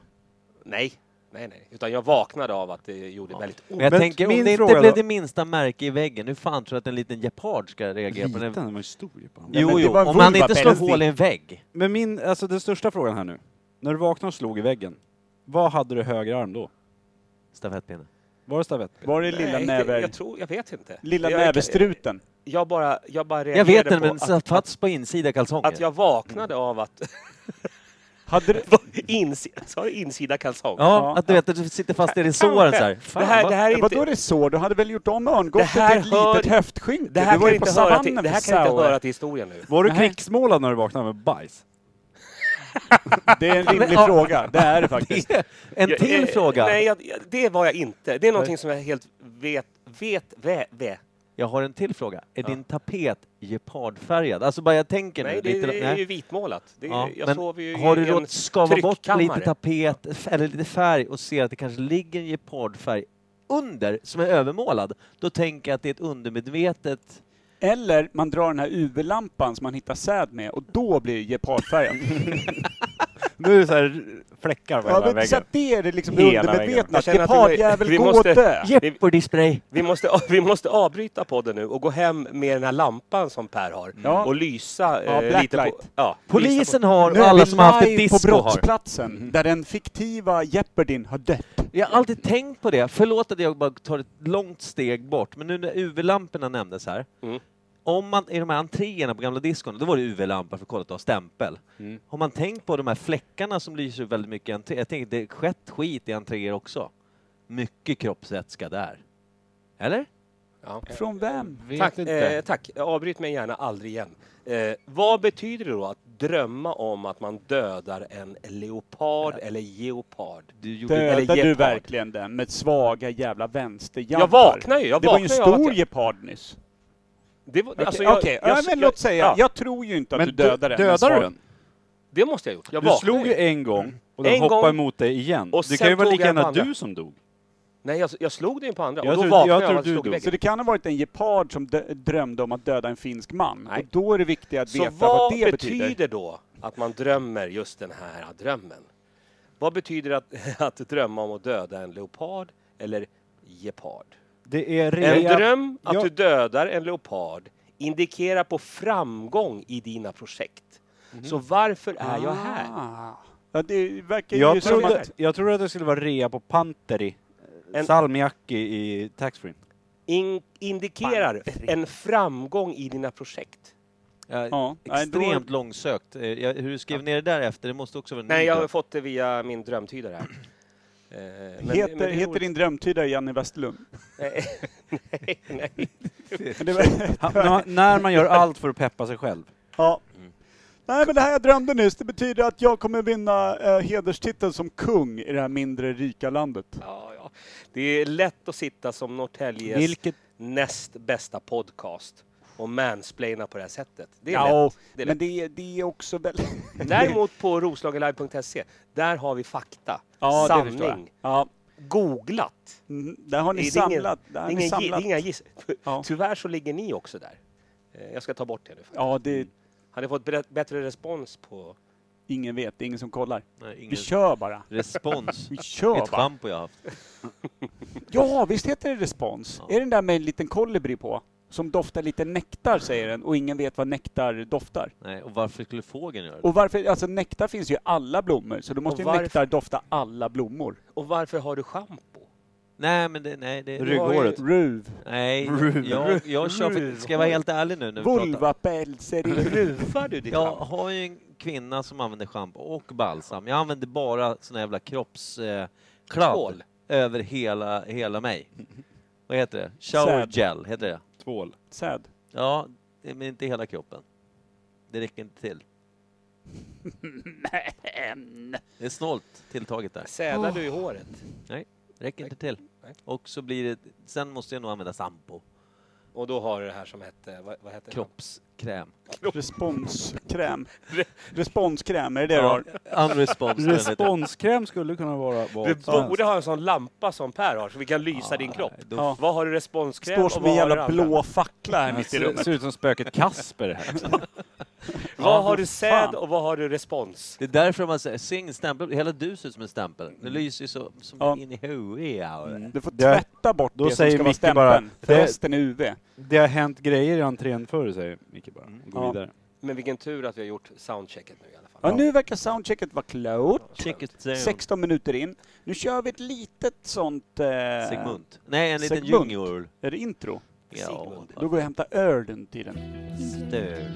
Speaker 1: Nej, nej, nej. Utan jag vaknade av att det gjorde väldigt ont.
Speaker 2: Men jag
Speaker 4: Men
Speaker 2: tänker, om
Speaker 4: min
Speaker 2: det inte
Speaker 4: fråga
Speaker 2: blev
Speaker 4: då?
Speaker 2: det minsta märke i väggen, hur fan tror du att en liten gepard ska reagera på
Speaker 4: Liten,
Speaker 2: den?
Speaker 4: den var ju stor. på honom.
Speaker 3: Ja, men
Speaker 2: Jo,
Speaker 3: det
Speaker 2: jo,
Speaker 3: var en
Speaker 2: om han
Speaker 3: vulva,
Speaker 2: inte slår
Speaker 3: Pelle.
Speaker 2: hål i en vägg.
Speaker 4: Men min, alltså den största frågan här nu. När du vaknade och slog i väggen, vad hade du höger arm då?
Speaker 2: Stafettpinne.
Speaker 4: Var det stavett?
Speaker 3: Var det lilla
Speaker 1: Nej,
Speaker 3: näver...
Speaker 1: Jag, jag tror, jag vet inte.
Speaker 3: Lilla
Speaker 1: jag,
Speaker 3: nävestruten.
Speaker 1: Jag, jag bara, jag bara
Speaker 2: Jag vet
Speaker 1: reagerade
Speaker 2: den, men
Speaker 1: på att,
Speaker 2: satt fast på insida kalsonger.
Speaker 1: att jag vaknade av att... <laughs>
Speaker 3: Hade du...
Speaker 1: insida, sa du insida kalsong?
Speaker 2: Ja,
Speaker 3: Ja.
Speaker 2: att du vet att du sitter fast i resåren så här. Fan,
Speaker 1: det, här, det här är
Speaker 3: Vadå
Speaker 1: inte...
Speaker 3: är det så? Du hade väl gjort om
Speaker 1: Det
Speaker 3: örngottet till
Speaker 1: här
Speaker 3: ett
Speaker 1: hör-
Speaker 3: litet höftskynke?
Speaker 1: Det här
Speaker 3: Du var
Speaker 1: kan
Speaker 3: ju på
Speaker 1: inte höra till,
Speaker 3: savannen
Speaker 1: det här
Speaker 3: för
Speaker 1: kan inte
Speaker 3: sauer.
Speaker 1: höra till historien nu.
Speaker 4: Var du
Speaker 3: Nej.
Speaker 4: krigsmålad när du vaknade med bajs?
Speaker 3: Det är en
Speaker 1: <laughs>
Speaker 3: rimlig
Speaker 2: Ja.
Speaker 3: fråga. Det är det faktiskt.
Speaker 2: En
Speaker 1: Jag-
Speaker 2: till
Speaker 1: eh,
Speaker 2: fråga.
Speaker 1: Nej, jag, jag- det var jag inte. Det är någonting som jag helt vet, vet, vä, vä.
Speaker 2: Jag har en till fråga. Är din tapet gepardfärgad? Alltså bara jag tänker nu.
Speaker 1: Nej, det,
Speaker 2: lite-
Speaker 1: det är ju vitmålat. Det, är-
Speaker 2: Ja,
Speaker 1: Jag
Speaker 2: men
Speaker 1: sover ju
Speaker 2: har du
Speaker 1: i en
Speaker 2: råd skava bort lite
Speaker 1: tryckkammare.
Speaker 2: tapet f- eller lite färg och ser att det kanske ligger en gepardfärg under som är övermålad, då tänker jag att det är ett undermedvetet...
Speaker 3: Eller man drar den här UV-lampan som man hittar säd med och då blir det
Speaker 1: <laughs>
Speaker 3: gepardfärgat.
Speaker 4: Nu är det så här fläckar på
Speaker 3: Ja,
Speaker 4: hela
Speaker 3: men så
Speaker 4: väggen.
Speaker 3: att det är det liksom
Speaker 4: Hela vägen.
Speaker 3: undermedvetna.
Speaker 1: Jag känner att vi- vi
Speaker 3: Gepardjävel, gå och
Speaker 1: måste-
Speaker 3: dö!
Speaker 2: Jeopardy-spray!
Speaker 1: Vi måste, vi måste avbryta podden nu och gå hem med den här lampan som Per har
Speaker 3: Ja.
Speaker 1: och lysa
Speaker 3: Ja,
Speaker 1: eh, lite på...
Speaker 3: blacklight.
Speaker 1: Ja, lysa
Speaker 2: Polisen
Speaker 1: på-
Speaker 2: har
Speaker 3: Nu
Speaker 2: och
Speaker 3: är
Speaker 2: alla
Speaker 3: vi
Speaker 2: som har haft ett
Speaker 3: live på
Speaker 2: disco har.
Speaker 3: brottsplatsen,
Speaker 1: Mm.
Speaker 3: där den fiktiva Jeopardyn har dött.
Speaker 2: Jag har alltid tänkt på det. Förlåt att jag bara tar ett långt steg bort, men nu när UV-lamporna nämndes här.
Speaker 1: Mm.
Speaker 2: Om man, I de här entréerna på gamla diskon, då var det UV-lampor för att kolla att du har stämpel. Har man tänkt på de här fläckarna som lyser upp väldigt mycket i entré? Jag tänker, det har skett skit i entréer också. Mycket kroppsvätska där. Eller?
Speaker 1: Ja.
Speaker 3: Från vem?
Speaker 1: Tack, eh, tack. Avbryt mig gärna aldrig igen. Eh, vad betyder det då att drömma om att man dödar en leopard eller geopard?
Speaker 2: Du gjorde
Speaker 3: Dödade du
Speaker 1: gepard.
Speaker 3: verkligen den med svaga jävla vänsterjampar?
Speaker 1: Jag vaknar ju. Jag
Speaker 3: Det var ju en
Speaker 1: vaknar av att
Speaker 3: stor
Speaker 1: jag-
Speaker 3: gepard nyss.
Speaker 1: Det, var,
Speaker 3: Okej,
Speaker 1: alltså, jag,
Speaker 3: okej.
Speaker 1: jag-
Speaker 3: ja, men
Speaker 1: jag-
Speaker 3: låt säga.
Speaker 1: ja,
Speaker 3: Jag tror ju inte att
Speaker 4: Men
Speaker 3: du dödade den.
Speaker 4: dödade
Speaker 3: men
Speaker 4: du
Speaker 3: svag-
Speaker 4: den?
Speaker 1: det måste jag ha gjort. Jag
Speaker 4: Du
Speaker 1: vaknade
Speaker 4: slog ju en gång och den
Speaker 1: En
Speaker 4: hoppade
Speaker 1: gång.
Speaker 4: emot dig igen.
Speaker 1: Och
Speaker 4: det
Speaker 1: sen
Speaker 4: kan ju vara
Speaker 1: tog
Speaker 4: lika
Speaker 1: jag på
Speaker 4: gärna
Speaker 1: andra.
Speaker 4: du som dog.
Speaker 1: Nej, jag, jag slog den ju på andra
Speaker 4: Jag
Speaker 1: och då
Speaker 4: tror-
Speaker 1: vaknade
Speaker 4: jag
Speaker 1: jag,
Speaker 4: tror
Speaker 1: av att
Speaker 4: du
Speaker 1: jag slog i
Speaker 4: dog.
Speaker 3: Så
Speaker 1: väggen.
Speaker 3: det kan ha varit en gepard som dö- drömde om att döda en finsk man.
Speaker 1: Nej.
Speaker 3: Och då är det viktigt att
Speaker 1: Så
Speaker 3: veta vad
Speaker 1: vad
Speaker 3: det betyder.
Speaker 1: betyder då att man drömmer just den här drömmen? Vad betyder det att, <laughs> att drömma om att döda en leopard eller gepard?
Speaker 4: Det är
Speaker 1: En
Speaker 4: rejäl-
Speaker 1: dröm att
Speaker 4: Ja.
Speaker 1: du dödar en leopard indikerar på framgång i dina projekt. Så varför är jag här?
Speaker 3: Mhm. Ah. Ja, det verkar ju
Speaker 4: Jag
Speaker 3: som
Speaker 4: trodde,
Speaker 3: att...
Speaker 4: jag trodde att det skulle vara rea på Panteri,
Speaker 1: En-
Speaker 4: salmiakki i taxfree.
Speaker 1: In indikerar en framgång i dina projekt.
Speaker 2: Ja,
Speaker 3: Ja, nej, då-
Speaker 2: Extremt långsökt. Eh, jag- Hur du skrev ner det där efter, det måste också vara
Speaker 3: Mm.
Speaker 2: en ny
Speaker 1: Nej, jag har
Speaker 2: dröm.
Speaker 1: fått det via min drömtydare här. Eh, men- men
Speaker 3: heter
Speaker 1: det är
Speaker 3: heter
Speaker 1: roligt.
Speaker 3: din drömtydare Janne Westerlund?
Speaker 1: <laughs> Nej, nej.
Speaker 3: Men det var-
Speaker 4: Han- när man- när man gör allt för att peppa sig själv.
Speaker 3: Ja.
Speaker 1: Mm.
Speaker 3: Nej men det här jag drömde nyss, det betyder att jag kommer vinna eh, hederstiteln som kung i det här mindre rika landet.
Speaker 1: Ja, ja. Det är lätt att sitta som Norrtäljes
Speaker 4: Vilket...
Speaker 1: näst bästa podcast och mansplaina på det här sättet. Det är
Speaker 3: Ja,
Speaker 1: lätt. Det är
Speaker 3: men det är, det är också
Speaker 1: <laughs>
Speaker 3: väldigt...
Speaker 1: Däremot på roslagenlive.se, där har vi fakta,
Speaker 3: ja, det förstår jag.
Speaker 1: sanning,
Speaker 3: Ja,
Speaker 1: googlat.
Speaker 3: mm, där har ni
Speaker 1: Det är ingen-
Speaker 3: samlat.
Speaker 1: Det
Speaker 3: där
Speaker 1: är
Speaker 3: har
Speaker 1: ingen
Speaker 3: ni
Speaker 1: gi- det är
Speaker 3: samlat.
Speaker 1: inga giss.
Speaker 3: Ja.
Speaker 1: Tyvärr så ligger ni också där. Eh, Jag ska ta bort det nu. faktiskt.
Speaker 3: Ja, det
Speaker 1: Hade jag fått bre- bättre respons på...
Speaker 3: ingen vet, det är ingen som kollar.
Speaker 2: Nej, ingen
Speaker 3: Vi kör bara. <laughs>
Speaker 2: respons.
Speaker 3: Vi
Speaker 2: Det är
Speaker 3: kör
Speaker 2: ett
Speaker 3: bara.
Speaker 2: schampo jag har haft.
Speaker 3: Ja, visst heter det respons?
Speaker 2: Ja.
Speaker 3: Är det den där med en liten kolibri på? som doftar lite nektar, säger den, och ingen vet vad nektar doftar.
Speaker 2: Nej, och varför skulle fågeln göra det?
Speaker 3: Och varför, alltså nektar finns ju i alla blommor, så då måste
Speaker 1: Och
Speaker 3: ju
Speaker 1: varför-
Speaker 3: nektar dofta alla blommor.
Speaker 1: Och varför har du schampo?
Speaker 2: Nej, men det, nej, det...
Speaker 1: Rygg- Rygghåret.
Speaker 3: Ruv.
Speaker 2: Nej,
Speaker 4: Ruv.
Speaker 2: jag, jag kör för, Ska jag vara helt ärlig nu när vi pratar?
Speaker 3: Vulvapels är det ruv.
Speaker 1: Ruvar du ditt
Speaker 2: Jag
Speaker 1: schampo?
Speaker 2: har ju en kvinna som använder schampo och balsam. Jag använder bara såna jävla kroppskladd eh, kladd
Speaker 1: Tvål.
Speaker 2: över hela, hela mig. Vad heter det? Shower
Speaker 3: Säd.
Speaker 2: gel, heter det.
Speaker 4: Tvål.
Speaker 1: <laughs>
Speaker 3: Säd.
Speaker 2: Ja, det- men inte hela kroppen. Det räcker inte till. Det är snålt tilltaget där.
Speaker 1: Sädar du i håret?
Speaker 2: Räcker inte till.
Speaker 1: Nej.
Speaker 2: Och så blir det... Sen måste jag nog använda sampo.
Speaker 1: Och då har du det här som hette, vad, vad hette
Speaker 2: Kroppskräm.
Speaker 3: Responskräm. Responskräm, är det det du
Speaker 2: Ja,
Speaker 3: har?
Speaker 2: unresponsive.
Speaker 4: Responskräm skulle kunna vara
Speaker 1: det?
Speaker 4: vad
Speaker 1: Du
Speaker 4: som helst.
Speaker 1: borde ha en sån lampa som Per har så vi kan lysa
Speaker 2: Ja,
Speaker 1: din kropp.
Speaker 2: då-
Speaker 3: Ja.
Speaker 1: Vad har du responskräm
Speaker 3: Står
Speaker 1: och
Speaker 3: som
Speaker 1: vad
Speaker 3: en
Speaker 1: har du
Speaker 3: jävla
Speaker 1: andra?
Speaker 3: blå fackla här
Speaker 4: Ja,
Speaker 3: mitt i
Speaker 4: ser-
Speaker 3: rummet.
Speaker 4: Ser ut som spöket Kasper här.
Speaker 1: Vad har du
Speaker 3: fan.
Speaker 1: säd och vad har du respons?
Speaker 2: Det är därför man säger sing stämpel. Hela du ser ut som en stämpel. Det lyser ju så, som
Speaker 3: Ja.
Speaker 2: in i huvudet. Mm.
Speaker 3: Du får
Speaker 4: Det har-
Speaker 3: tvätta bort
Speaker 4: Då
Speaker 3: det som
Speaker 4: säger
Speaker 3: ska vara
Speaker 4: Micke bara,
Speaker 3: stämpeln.
Speaker 4: det-
Speaker 3: Resten är UV.
Speaker 4: Det har hänt grejer i entrén förr, säger Micke bara. Gå
Speaker 3: Ja.
Speaker 4: vidare.
Speaker 1: Men vilken tur att vi har gjort soundchecket nu i alla fall.
Speaker 3: Ja, nu verkar soundchecket vara klart.
Speaker 2: Check it down.
Speaker 3: 16 minuter in. Nu kör vi ett litet sånt... Eh,
Speaker 2: Sigmund. Nej, en liten
Speaker 3: Sigmund.
Speaker 2: junior.
Speaker 3: Är det intro?
Speaker 2: Ja,
Speaker 3: Då går jag och hämtar öl den tiden.
Speaker 2: stör.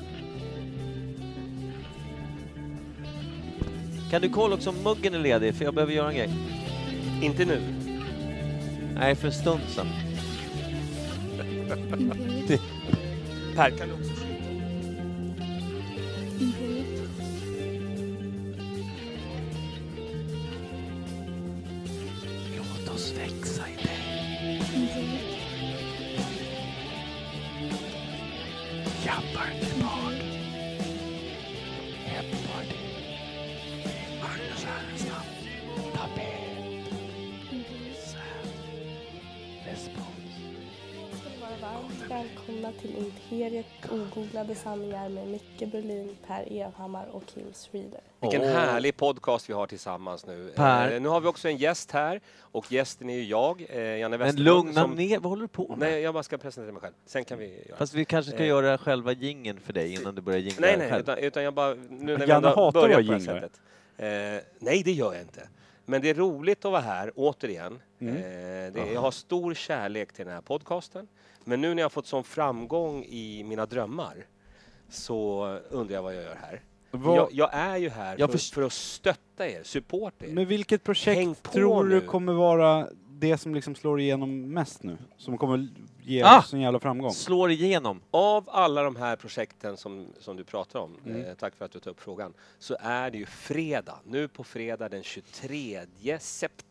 Speaker 2: Kan du kolla också om muggen är ledig? För jag behöver göra en grej.
Speaker 1: Inte nu.
Speaker 2: Nej, för en stund sedan.
Speaker 1: Per, kan du också sluta?
Speaker 2: Låt oss växa i dig. Jabbar till barn. Heppar till. Magnus Härenstam. Tapé. Säv. Respons.
Speaker 5: ska ni vara varmt välkomna till Imperiet ogooglade sanningar med Micke Berlin, Per Evhammar och Kim Schreeder.
Speaker 1: Vilken
Speaker 2: Åh.
Speaker 1: härlig podcast vi har tillsammans nu.
Speaker 2: Per.
Speaker 1: Eh, nu har vi också en gäst här och gästen är ju jag, eh, Janne
Speaker 2: Men
Speaker 1: Westerlund.
Speaker 2: lugna
Speaker 1: som-
Speaker 2: ner, vad håller du på med?
Speaker 1: Nej, jag bara ska presentera mig själv. Sen kan vi göra
Speaker 2: Fast vi kanske ska
Speaker 1: Eh.
Speaker 2: göra själva jingeln för dig innan du börjar jingla
Speaker 1: Nej, nej,
Speaker 2: själv.
Speaker 1: utan, utan jag bara... Nu när vi
Speaker 4: Eh, Janne
Speaker 1: ändå
Speaker 4: hatar
Speaker 1: börjar
Speaker 4: att
Speaker 1: på det här
Speaker 4: jingla.
Speaker 1: sättet. Eh, nej, det gör jag inte. Men det är roligt att vara här, återigen.
Speaker 4: Mm.
Speaker 1: Eh, det,
Speaker 4: Ah.
Speaker 1: jag har stor kärlek till den här podcasten. Men nu när jag har fått sån framgång i mina drömmar så undrar jag vad jag gör här.
Speaker 4: Vad-
Speaker 1: Jag, jag är ju här
Speaker 2: Jag
Speaker 1: för,
Speaker 2: först-
Speaker 1: för att stötta er, supporta er.
Speaker 4: Men vilket
Speaker 1: Häng
Speaker 4: projekt
Speaker 1: på
Speaker 4: tror du
Speaker 1: nu.
Speaker 4: kommer vara det som liksom slår igenom mest nu? Som kommer ge
Speaker 2: Ah!
Speaker 4: oss en jävla framgång?
Speaker 2: Slår igenom.
Speaker 1: Av alla de här projekten som, som du pratar om,
Speaker 4: Mm.
Speaker 1: eh, tack för att du tog upp frågan, så är det ju fredag. Nu på fredag den 23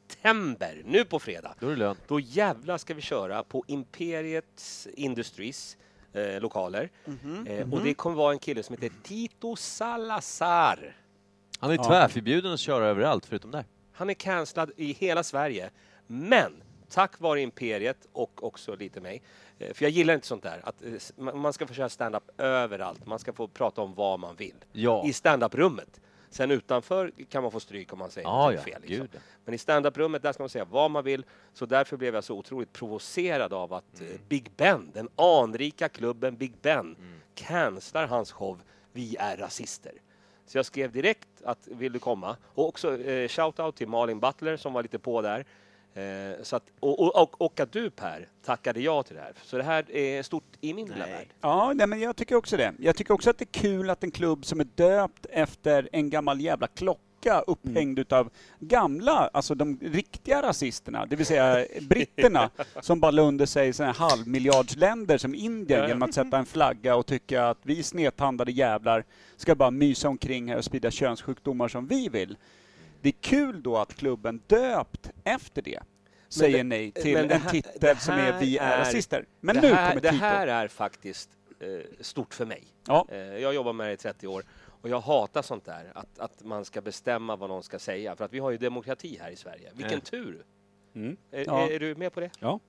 Speaker 1: september. Nu på fredag.
Speaker 2: Då är det lön.
Speaker 1: Då jävlar ska vi köra på Imperiets Industries eh, lokaler. Eh, och det kommer vara en kille som heter Tito Salazar.
Speaker 2: Han är tvärförbjuden att köra överallt förutom där.
Speaker 1: Han är cancellad i hela Sverige. Men tack vare Imperiet och också lite mig, eh, för jag gillar inte sånt där, att eh, s- ma- man ska få köra stand-up överallt. Man ska få prata om vad man vill
Speaker 2: Ja.
Speaker 1: i stand-up-rummet. Sen utanför kan man få stryk om man säger
Speaker 2: Ja,
Speaker 1: något
Speaker 2: ja.
Speaker 1: fel. Liksom.
Speaker 2: Gud, ja.
Speaker 1: Men i stand-up-rummet där ska man säga vad man vill. Så därför blev jag så otroligt provocerad av att eh,
Speaker 2: Mm.
Speaker 1: Big Ben, den anrika klubben Big Ben, cancelar hans show Vi är rasister. Så jag skrev direkt att vill du komma? Och också eh, shout-out till Malin Butler som var lite på där. Eh, så att, och, och, och, och att du Per tackade ja till det här. Så det här är stort i min lilla
Speaker 2: Nej.
Speaker 1: värld.
Speaker 3: Ja, nej, men jag tycker också det. Jag tycker också att det är kul att en klubb som är döpt efter en gammal jävla klocka
Speaker 1: Mm.
Speaker 3: upphängd utav gamla, alltså de riktiga rasisterna, det vill säga
Speaker 1: <laughs>
Speaker 3: britterna, som bara la under sig sådana här halvmiljardsländer som Indien
Speaker 1: Ja, ja.
Speaker 3: genom att sätta en flagga och tycka att vi snedtandade jävlar ska bara mysa omkring här och sprida könssjukdomar som vi vill. Det är kul då att klubben döpt efter det säger
Speaker 1: det-
Speaker 3: nej till
Speaker 1: men det
Speaker 3: en
Speaker 1: här-
Speaker 3: titel
Speaker 1: det
Speaker 3: som är
Speaker 1: här
Speaker 3: Vi är
Speaker 1: är-
Speaker 3: rasister. Men
Speaker 1: det
Speaker 3: nu
Speaker 1: här,
Speaker 3: kommer
Speaker 1: Det
Speaker 3: Tito.
Speaker 1: här är faktiskt eh, stort för mig.
Speaker 3: Ja.
Speaker 1: Eh, jag jobbar med det i 30 år och jag hatar sånt där, att, att man ska bestämma vad någon ska säga. För att vi har ju demokrati här i Sverige. Vilken
Speaker 2: Mm.
Speaker 1: tur! Eh,
Speaker 4: Mm.
Speaker 1: Är,
Speaker 3: Eh. Ja.
Speaker 1: är du med på det?
Speaker 4: Ja.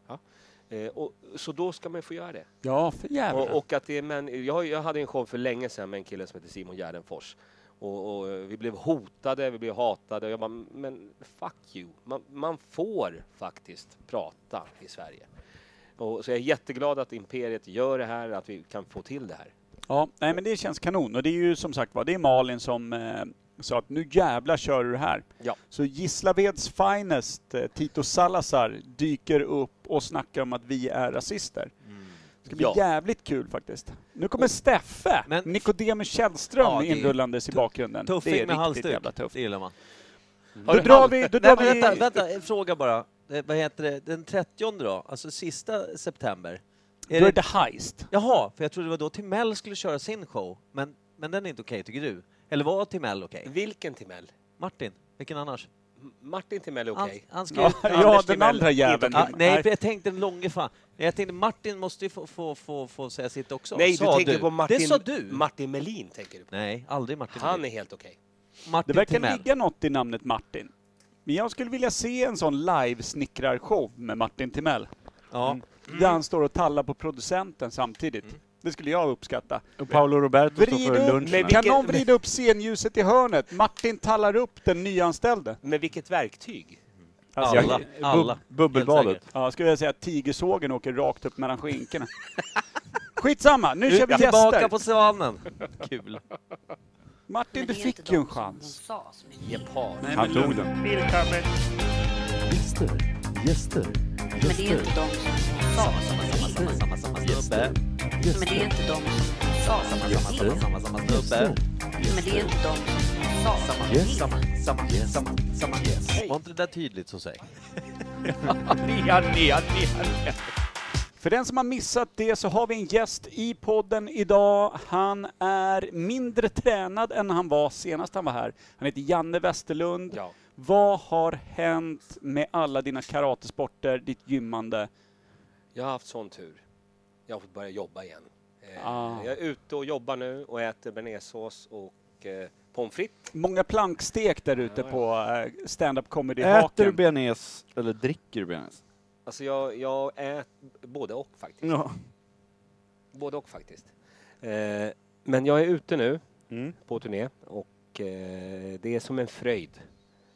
Speaker 1: Eh, och, så då ska man få göra det.
Speaker 3: Ja, för jävlar.
Speaker 1: Och, och att det är män, jag, har- jag hade en show för länge sedan med en kille som heter Simon Gärdenfors. Och, och eh, vi blev hotade, vi blev hatade. Och jag bara, men fuck you. Man, man får faktiskt prata i Sverige. Och, så jag är jätteglad att Imperiet gör det här, att vi kan få till det här.
Speaker 3: Ja, nej men det känns kanon. Och det är ju som sagt var, det är Malin som eh, sa att nu jävla kör du det här.
Speaker 1: Ja.
Speaker 3: Så Gislaveds finest, eh, Tito Salazar, dyker upp och snackar om att vi är rasister.
Speaker 2: Mm.
Speaker 3: Det ska bli
Speaker 1: Ja.
Speaker 3: jävligt kul faktiskt. Nu kommer Steffe,
Speaker 2: Men-
Speaker 3: Nikodemus Källström
Speaker 2: Ja, det är
Speaker 3: inrullandes i bakgrunden.
Speaker 2: Tuffing med halsduk.
Speaker 3: jävla tufft.
Speaker 2: Det gillar man. Mm.
Speaker 3: Då drar vi... Då
Speaker 2: Nej,
Speaker 3: drar
Speaker 2: men
Speaker 3: vi
Speaker 2: vänta, vänta, en fråga bara. Eh, Vad heter det? Den 30 då? Alltså sista september? Är
Speaker 3: Då
Speaker 2: det...
Speaker 3: är det Heist.
Speaker 2: Jaha, för jag trodde det var då Timell skulle köra sin show. Men, men den är inte okej, tycker du? Eller var Timell okej?
Speaker 1: Vilken Timell?
Speaker 2: Martin? Vilken annars?
Speaker 1: M- Martin Timell är okej.
Speaker 2: Han, han ska
Speaker 3: Ja, <laughs>
Speaker 2: ut...
Speaker 3: ja den
Speaker 1: Timell,
Speaker 3: andra jäveln.
Speaker 2: Ah, nej, för jag tänkte den långe fan. Nej, Jag tänkte Martin måste ju få, få, få, få säga sitt också.
Speaker 1: Nej, du
Speaker 2: Sa
Speaker 1: tänker på Martin,
Speaker 2: Det sa du!
Speaker 1: Martin Melin. Tänker du på.
Speaker 2: nej, aldrig Martin.
Speaker 1: Han är helt okej.
Speaker 2: Martin
Speaker 3: Det verkar
Speaker 2: Timell.
Speaker 3: ligga något i namnet Martin. Men jag skulle vilja se en sån live-snickrarshow med Martin Timell.
Speaker 2: Ja.
Speaker 3: Där han står och tallar på producenten samtidigt. Det skulle jag uppskatta.
Speaker 4: Och Paolo Roberto står
Speaker 3: Vrid
Speaker 4: för
Speaker 3: upp,
Speaker 4: lunchen.
Speaker 1: Men
Speaker 4: här.
Speaker 3: kan någon vrida upp scenljuset i hörnet? Martin tallar upp den nyanställde.
Speaker 1: Men vilket verktyg?
Speaker 3: Alltså,
Speaker 2: Alla.
Speaker 3: jag-
Speaker 2: alla.
Speaker 4: Bub- bubbelbadet.
Speaker 2: Helt säkert.
Speaker 3: Ja, jag skulle vilja säga att tigersågen åker rakt upp mellan
Speaker 4: <laughs>
Speaker 3: skinkorna. Skitsamma, nu kör vi
Speaker 2: tillbaka
Speaker 3: gäster!
Speaker 2: på savannen. Kul.
Speaker 3: Martin,
Speaker 6: Men
Speaker 3: du
Speaker 6: det är inte
Speaker 3: fick ju en
Speaker 6: de som hon
Speaker 3: chans.
Speaker 6: sa som är
Speaker 1: Japan.
Speaker 4: Han tog den.
Speaker 7: Gäster, gäster,
Speaker 6: Men det är inte
Speaker 7: gäster,
Speaker 6: de som hon sa som är
Speaker 2: Samma, samma, samma snubbe.
Speaker 6: Men det är
Speaker 7: gäster,
Speaker 6: inte de som hon sa som är
Speaker 2: Samma, samma, samma, samma snubbe.
Speaker 7: gäster,
Speaker 6: Men det är inte de som hon sa som är
Speaker 7: Yes.
Speaker 2: Samma, samma, samma, samma. Var inte det där tydligt så säg?
Speaker 3: För den som har missat det så har vi en gäst i podden idag. Han är mindre tränad än han var senast han var här. Han heter Janne Westerlund.
Speaker 1: Ja.
Speaker 3: Vad har hänt med alla dina karatesporter, ditt gymmande?
Speaker 1: Jag har haft sån tur. Jag har fått börja jobba igen. Eh,
Speaker 3: Ah.
Speaker 1: Jag är ute och jobbar nu och äter bearnaisesås och eh, pommes frites.
Speaker 3: Många plankstek där ute på eh, stand-up
Speaker 4: Äter du
Speaker 3: comedy-haken.
Speaker 4: bearnaise eller dricker du bearnaise?
Speaker 1: Alltså jag, jag äter både och faktiskt.
Speaker 4: Ja.
Speaker 1: Både och faktiskt. Eh, men jag är ute nu
Speaker 4: Mm.
Speaker 1: på turné och eh, det är som en fröjd.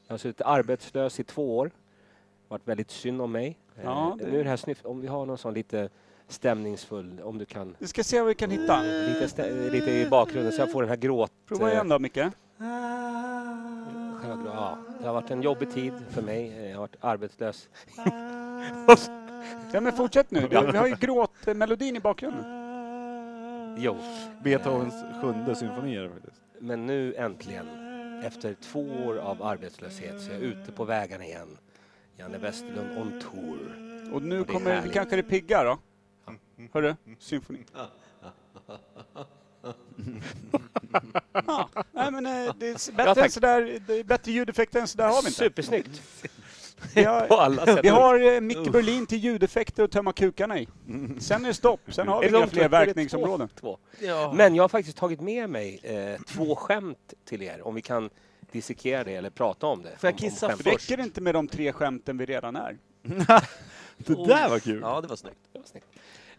Speaker 1: Jag har suttit arbetslös i två år. varit väldigt synd om mig. Eh,
Speaker 3: Ja, det-
Speaker 1: Nu är det här snyft, om vi har någon sån lite stämningsfull, om du kan,
Speaker 3: Vi ska se vad vi kan hitta.
Speaker 4: Äh,
Speaker 1: lite, stä- lite i bakgrunden så jag får den här gråt...
Speaker 3: Prova
Speaker 1: eh,
Speaker 3: igen då, Micke.
Speaker 1: själva grå- Ja, det har varit en jobbig tid för mig. Eh, Jag har varit arbetslös. Och så-
Speaker 3: Ja, men fortsätt
Speaker 4: <laughs>
Speaker 3: nu. Vi, vi har ju gråtmelodin i bakgrunden.
Speaker 1: jo,
Speaker 4: Beethovens sjunde symfoni är det faktiskt.
Speaker 1: men nu äntligen, efter två år av arbetslöshet, så är jag ute på vägarna igen. Janne Westerlund on tour.
Speaker 3: Och nu
Speaker 1: Och det är
Speaker 3: kommer
Speaker 1: härligt. Mm.
Speaker 3: kanske det pigga då. Hörru, symfoni. <laughs> Ja, nej men eh, det är s- bättre, än sådär, det är bättre ljudeffekter än sådär har vi inte.
Speaker 1: Supersnyggt!
Speaker 3: Vi har,
Speaker 1: På alla sätt.
Speaker 3: vi har eh, Micke Berlin till ljudeffekter och tömma kukarna i. Sen är det stopp, sen har vi
Speaker 1: Är det
Speaker 3: inga
Speaker 1: de
Speaker 3: fler
Speaker 1: två? Är det
Speaker 3: verkningsområden.
Speaker 1: två?
Speaker 2: Ja.
Speaker 1: Men jag har faktiskt tagit med mig eh, två skämt till er, om vi kan dissekera det eller prata om det.
Speaker 2: Får jag
Speaker 1: om,
Speaker 2: kissa
Speaker 1: om skämt.
Speaker 2: först?
Speaker 3: Räcker det inte med de tre skämten vi redan är?
Speaker 4: Det där var kul!
Speaker 2: Ja, det var snyggt.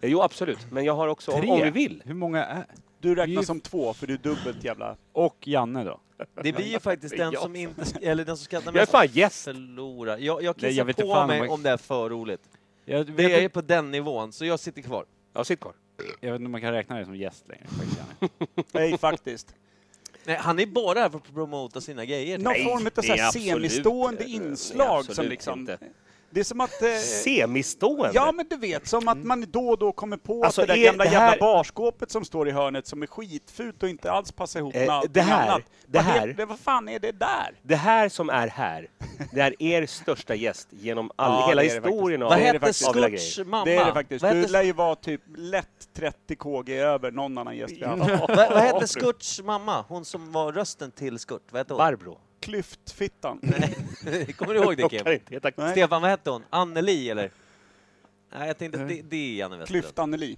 Speaker 1: Eh, Jo, absolut. Men jag har också, om, om vi vill.
Speaker 4: Hur många är?
Speaker 3: Du
Speaker 4: Det är
Speaker 3: räknas
Speaker 4: ju-
Speaker 3: som två för du är dubbelt jävla...
Speaker 4: Och Janne då?
Speaker 2: Det blir ju faktiskt den som inte, sk- eller den som skrattar
Speaker 1: Jag är
Speaker 2: mest
Speaker 1: fan gäst!
Speaker 2: förlorar. Jag, jag
Speaker 4: Nej,
Speaker 2: kissar
Speaker 4: jag vet inte
Speaker 2: på
Speaker 4: fan
Speaker 2: mig
Speaker 4: om jag-
Speaker 2: om det är för roligt.
Speaker 4: Jag vet,
Speaker 2: Vi är
Speaker 4: inte,
Speaker 2: på den nivån, så jag sitter kvar.
Speaker 1: Ja, sitt kvar.
Speaker 4: jag vet inte om man kan räkna dig som gäst längre. faktiskt, Janne.
Speaker 3: Nej, faktiskt.
Speaker 2: Nej, han är bara här för att promota sina grejer.
Speaker 3: Någon form av
Speaker 1: det
Speaker 3: så här
Speaker 1: är absolut-
Speaker 3: semistående
Speaker 1: det är
Speaker 3: inslag som
Speaker 1: absolut
Speaker 3: liksom...
Speaker 1: inte.
Speaker 3: Det är som att... eh,
Speaker 1: Semistående?
Speaker 3: Ja, men du vet, som att man då och då kommer på
Speaker 1: Alltså,
Speaker 3: att det där
Speaker 1: är
Speaker 3: gamla
Speaker 1: det här-
Speaker 3: jävla barskåpet som står i hörnet som är skitfult och inte alls passar ihop med
Speaker 1: Eh,
Speaker 3: allting
Speaker 1: det här,
Speaker 3: annat.
Speaker 1: det
Speaker 3: Vad
Speaker 1: här.
Speaker 3: heter det? Vad fan är det där?
Speaker 1: Det här som är här, det är er största gäst genom all,
Speaker 3: Ja,
Speaker 1: hela
Speaker 3: det är det
Speaker 1: historien av
Speaker 2: Vad
Speaker 1: av
Speaker 2: hette
Speaker 1: alla grejer.
Speaker 2: Scotch mamma?
Speaker 3: Det är det faktiskt.
Speaker 2: Vad
Speaker 3: Du
Speaker 2: hette-
Speaker 3: lär ju vara typ lätt 30 kg över någon annan gäst vi har haft.
Speaker 2: Vad, vad hette Skurts mamma? Hon som var rösten till Skurt. Vad hette hon? <laughs>
Speaker 1: Barbro.
Speaker 3: Klyftfittan.
Speaker 2: Kommer du ihåg det Kim?
Speaker 3: Nej.
Speaker 2: Stefan, vad hette hon? Anneli eller? Nej, jag tänkte att det, det är Janne Westerlund.
Speaker 3: Klyft-Anneli.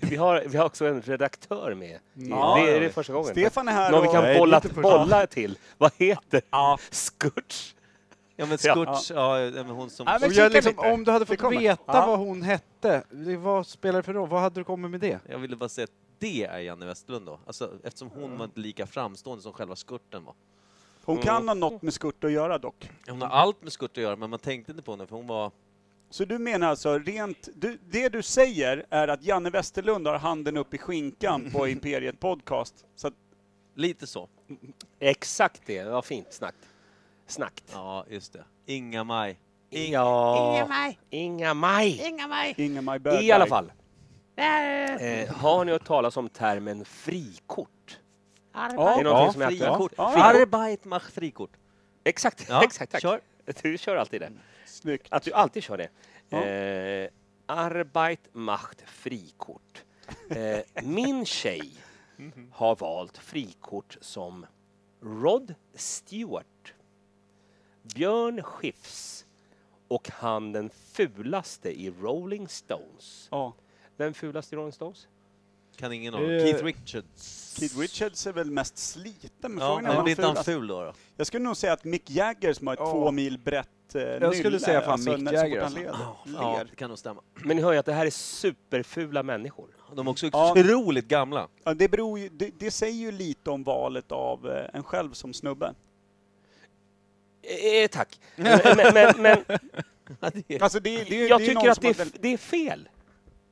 Speaker 1: Vi har, vi har också en redaktör med.
Speaker 3: Ja,
Speaker 1: det
Speaker 3: ja,
Speaker 1: är det
Speaker 3: ja.
Speaker 1: första gången.
Speaker 3: Stefan är här
Speaker 1: Någon vi
Speaker 3: och-
Speaker 1: kan
Speaker 3: Nej,
Speaker 1: bolla,
Speaker 3: lite först.
Speaker 1: bolla till. Vad heter
Speaker 3: Ja.
Speaker 1: Scutch?
Speaker 2: Ja, men Skurts, ja. ja, men hon som...
Speaker 3: Nej, men
Speaker 4: Och jag
Speaker 3: kika
Speaker 4: liksom,
Speaker 3: lite.
Speaker 4: om du hade
Speaker 3: Det
Speaker 4: fått
Speaker 3: kommer.
Speaker 4: veta
Speaker 3: Ja.
Speaker 4: vad hon hette, det- vad spelar det för roll? Vad hade du kommit med det?
Speaker 2: Jag ville bara säga att det är Janne Westerlund då. Alltså, eftersom hon var inte lika framstående som själva Skurten var.
Speaker 3: Hon kan ha något med skurt att göra dock.
Speaker 2: Hon har allt med Skurt att göra, men man tänkte inte på henne för hon var...
Speaker 3: Så du menar alltså rent, du, det du säger är att Janne Westerlund har handen upp i skinkan
Speaker 1: <laughs>
Speaker 3: på Imperiet Podcast. Så att,
Speaker 2: Lite så.
Speaker 1: Exakt det, det var fint snack. Snackt.
Speaker 2: Ja, just det. Inga-Maj.
Speaker 1: Inga, Inga maj. Inga maj.
Speaker 3: Ingemar Bergberg.
Speaker 1: I alla fall. Eh, har ni hört talas om termen frikort?
Speaker 3: Ja,
Speaker 1: Det är någonting som är aktuellt.
Speaker 2: frikort.
Speaker 3: Ja, ja.
Speaker 2: Arbeit macht frikort.
Speaker 1: Exakt,
Speaker 2: Ja,
Speaker 1: <laughs> exakt. Tack.
Speaker 2: kör.
Speaker 1: Du kör alltid det.
Speaker 3: snyggt.
Speaker 1: Att du alltid kör det.
Speaker 3: Ja.
Speaker 1: Eh, Arbeit macht frikort. Eh, min tjej har valt frikort som Rod Stewart, Björn Skifs och han den fulaste i Rolling Stones.
Speaker 3: Ja.
Speaker 1: Vem fulaste i Rolling Stones?
Speaker 2: Kan ingen av dem.
Speaker 4: Eh,
Speaker 2: Keith Richards.
Speaker 3: Kid Richards är väl mest sliten, men
Speaker 2: Ja,
Speaker 3: frågan är
Speaker 2: men
Speaker 3: om
Speaker 2: blir inte
Speaker 3: han
Speaker 2: han
Speaker 3: fulast.
Speaker 2: ful då? då?
Speaker 3: Jag skulle nog säga att Mick Jagger som har ett
Speaker 4: Ja.
Speaker 3: två mil brett eh,
Speaker 4: Jag skulle säga fan Mick
Speaker 3: när- så fort
Speaker 4: Jagger, alltså.
Speaker 3: han leder-
Speaker 2: Ja,
Speaker 3: ler.
Speaker 2: det kan nog stämma.
Speaker 1: Men ni hör ju att det här är superfula människor.
Speaker 2: De är också
Speaker 3: Ja.
Speaker 2: otroligt gamla.
Speaker 3: Ja, det, beror ju, det, det säger ju lite om valet av eh, en själv som snubbe.
Speaker 1: Eh, tack. Men, men, men,
Speaker 3: <laughs>
Speaker 1: men
Speaker 2: Ja, det är-
Speaker 3: Alltså det, det, det
Speaker 1: jag
Speaker 3: är någon
Speaker 1: tycker att
Speaker 3: som
Speaker 1: det
Speaker 3: har
Speaker 1: är, f-
Speaker 3: väl-
Speaker 1: det är fel.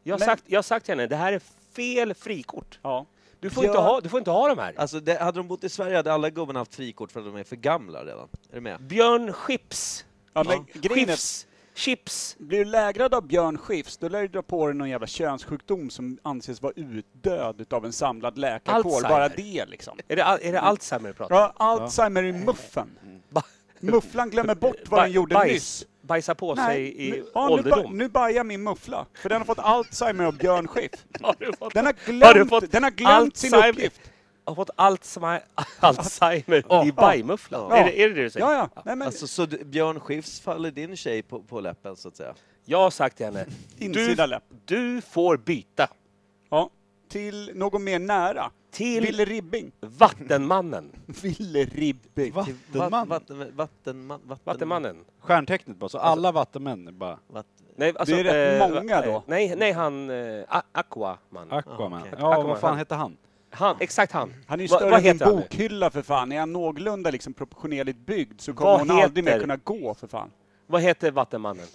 Speaker 1: Jag har,
Speaker 3: Men-
Speaker 1: sagt, jag har sagt till henne, det här är fel frikort.
Speaker 3: Ja.
Speaker 1: Du får,
Speaker 3: Ja.
Speaker 1: inte, ha, du får inte ha de här.
Speaker 2: Alltså, det, hade de bott i Sverige hade alla gubbarna haft frikort för att de är för gamla redan. Är du med?
Speaker 1: Björn Schips.
Speaker 3: Ja, men grejen är,
Speaker 1: Schips. Chips.
Speaker 3: blir du lägrad av Björn Skifs, då lär du dra på dig någon jävla könssjukdom som anses vara utdöd utav en samlad läkarkår.
Speaker 1: Alzheimer.
Speaker 3: Bara det liksom.
Speaker 1: Är det, al- är det Alzheimer du pratar om?
Speaker 3: Ja, Alzheimer i muffen.
Speaker 1: Ba-
Speaker 3: Mufflan glömmer bort vad
Speaker 1: ba-
Speaker 3: den gjorde
Speaker 1: bajs.
Speaker 3: nyss.
Speaker 1: Bajsa på sig i
Speaker 3: nu, ja, nu, ba,
Speaker 1: ålderdom.
Speaker 3: nu bajar min muffla, för den har fått Alzheimer av Björn Schiff.
Speaker 1: har du fått,
Speaker 3: Den har
Speaker 1: <laughs> har du
Speaker 3: glömt,
Speaker 1: fått
Speaker 3: den har glömt sin
Speaker 1: Alzheimer-
Speaker 3: uppgift.
Speaker 1: Har fått Alzheimer, Alzheimer i bajmufflan?
Speaker 3: Ja.
Speaker 1: Är, det, är det det du säger?
Speaker 3: Ja, ja. Nej, men
Speaker 2: Alltså, så du- Björn Skifs faller din tjej på, på läppen, så att säga.
Speaker 1: Jag har sagt till henne,
Speaker 3: insida läpp.
Speaker 1: du får byta
Speaker 3: Ja. Till någon mer nära.
Speaker 1: till
Speaker 3: Ville Ribbing.
Speaker 1: <laughs> Vattenmannen.
Speaker 3: Ville Ribbing.
Speaker 2: Till vatt-
Speaker 4: Vattenman?
Speaker 2: Vatten, vattenman, vatten,
Speaker 1: Vattenmannen.
Speaker 4: Stjärntecknet bara, så alla vattenmän bara
Speaker 2: Vatten,
Speaker 1: Nej, alltså,
Speaker 3: Det är rätt
Speaker 1: eh,
Speaker 3: många då.
Speaker 1: Nej, nej han... Eh, A- Aquaman.
Speaker 4: Aquaman.
Speaker 2: okej.
Speaker 4: Ja,
Speaker 1: Aquaman.
Speaker 4: vad fan hette han?
Speaker 1: han, exakt han.
Speaker 3: Han är ju
Speaker 1: Va-
Speaker 3: större
Speaker 1: vad
Speaker 3: än
Speaker 1: heter
Speaker 3: en
Speaker 1: han nu?
Speaker 3: bokhylla för fan. Är han någorlunda liksom proportionerligt byggd så kommer
Speaker 1: Vad
Speaker 3: hon aldrig mer
Speaker 1: heter-
Speaker 3: kunna gå för fan.
Speaker 1: Vad heter Vattenmannen?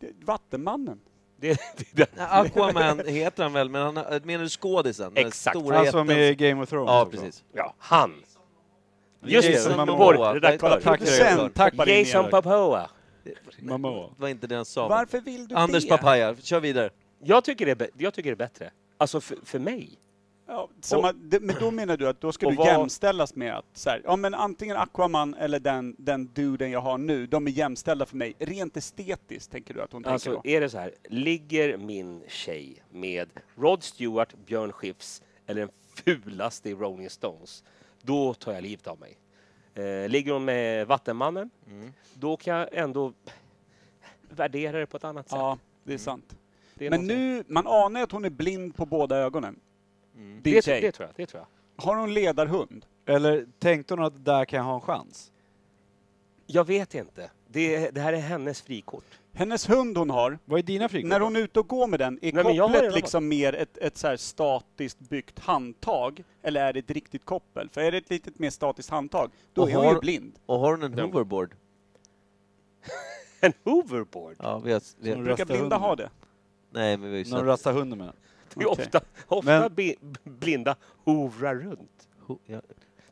Speaker 3: Det- Vattenmannen.
Speaker 1: Det, det, det.
Speaker 2: Nej, Aquaman heter han väl, men han, har- menar du skådisen? Den
Speaker 1: Exakt.
Speaker 2: stora
Speaker 4: Han som
Speaker 2: jätten?
Speaker 4: i Game of Thrones
Speaker 2: Ja,
Speaker 4: också.
Speaker 2: precis.
Speaker 1: Ja, han. Just det,
Speaker 4: Jason
Speaker 1: vår
Speaker 2: Momoa.
Speaker 1: redaktör.
Speaker 4: Tack,
Speaker 3: Producent
Speaker 4: tack.
Speaker 3: hoppar in i
Speaker 1: Jason
Speaker 3: det.
Speaker 1: Papoa.
Speaker 4: Momoa.
Speaker 2: Det var inte det han sa.
Speaker 3: Varför vill du
Speaker 2: Anders
Speaker 3: det?
Speaker 2: Papaya, kör vidare.
Speaker 1: Jag tycker det är, bä- jag tycker det är bättre. Alltså för, för mig.
Speaker 3: Ja, som
Speaker 1: Och-
Speaker 3: att, det- men då menar du att då ska
Speaker 1: Och
Speaker 3: du
Speaker 1: vad-
Speaker 3: jämställas med att så här, ja men antingen Aquaman eller den, den duden jag har nu, de är jämställda för mig. Rent estetiskt tänker du att hon
Speaker 1: Alltså
Speaker 3: tänker då?
Speaker 1: är det så här, ligger min tjej med Rod Stewart, Björn Skifs eller den fulaste i Rolling Stones, då tar jag livet av mig. Eh, ligger hon med Vattenmannen,
Speaker 3: Mm.
Speaker 1: då kan jag ändå värdera det på ett annat sätt.
Speaker 3: Ja, det är sant.
Speaker 1: Mm. Det är
Speaker 3: Men
Speaker 1: någonting-
Speaker 3: nu, man anar ju att hon är blind på båda ögonen. Din
Speaker 1: Mm. det,
Speaker 3: tjej.
Speaker 1: det tror jag. Det tror jag.
Speaker 3: Har hon ledarhund?
Speaker 4: Eller tänkte hon att där kan jag ha en chans?
Speaker 1: Jag vet inte. Det, det här är
Speaker 3: <laughs>
Speaker 1: hennes frikort.
Speaker 3: Hennes hund hon har,
Speaker 4: Vad är dina frikort?
Speaker 3: när hon är ute och går med den, är
Speaker 1: men jag har
Speaker 3: kopplet
Speaker 1: redan
Speaker 3: liksom mer ett, ett så här statiskt byggt handtag? Eller är det ett riktigt koppel? För är det ett litet mer statiskt handtag, då
Speaker 2: Och
Speaker 3: är hon
Speaker 2: har-
Speaker 3: ju blind.
Speaker 2: Och har hon en hoverboard?
Speaker 1: En hoverboard.
Speaker 2: Ja, vi har, vi
Speaker 4: Som
Speaker 2: har,
Speaker 4: rö-
Speaker 3: Brukar
Speaker 4: Rösta
Speaker 3: blinda
Speaker 4: hunden.
Speaker 3: ha det?
Speaker 2: nej, men vi har ju
Speaker 4: När hon
Speaker 2: sett...
Speaker 4: rastar hunden med.
Speaker 1: Det är
Speaker 3: Okej.
Speaker 1: ofta, ofta
Speaker 4: Men-
Speaker 1: bi- blinda hovrar runt.
Speaker 2: Ho, ja,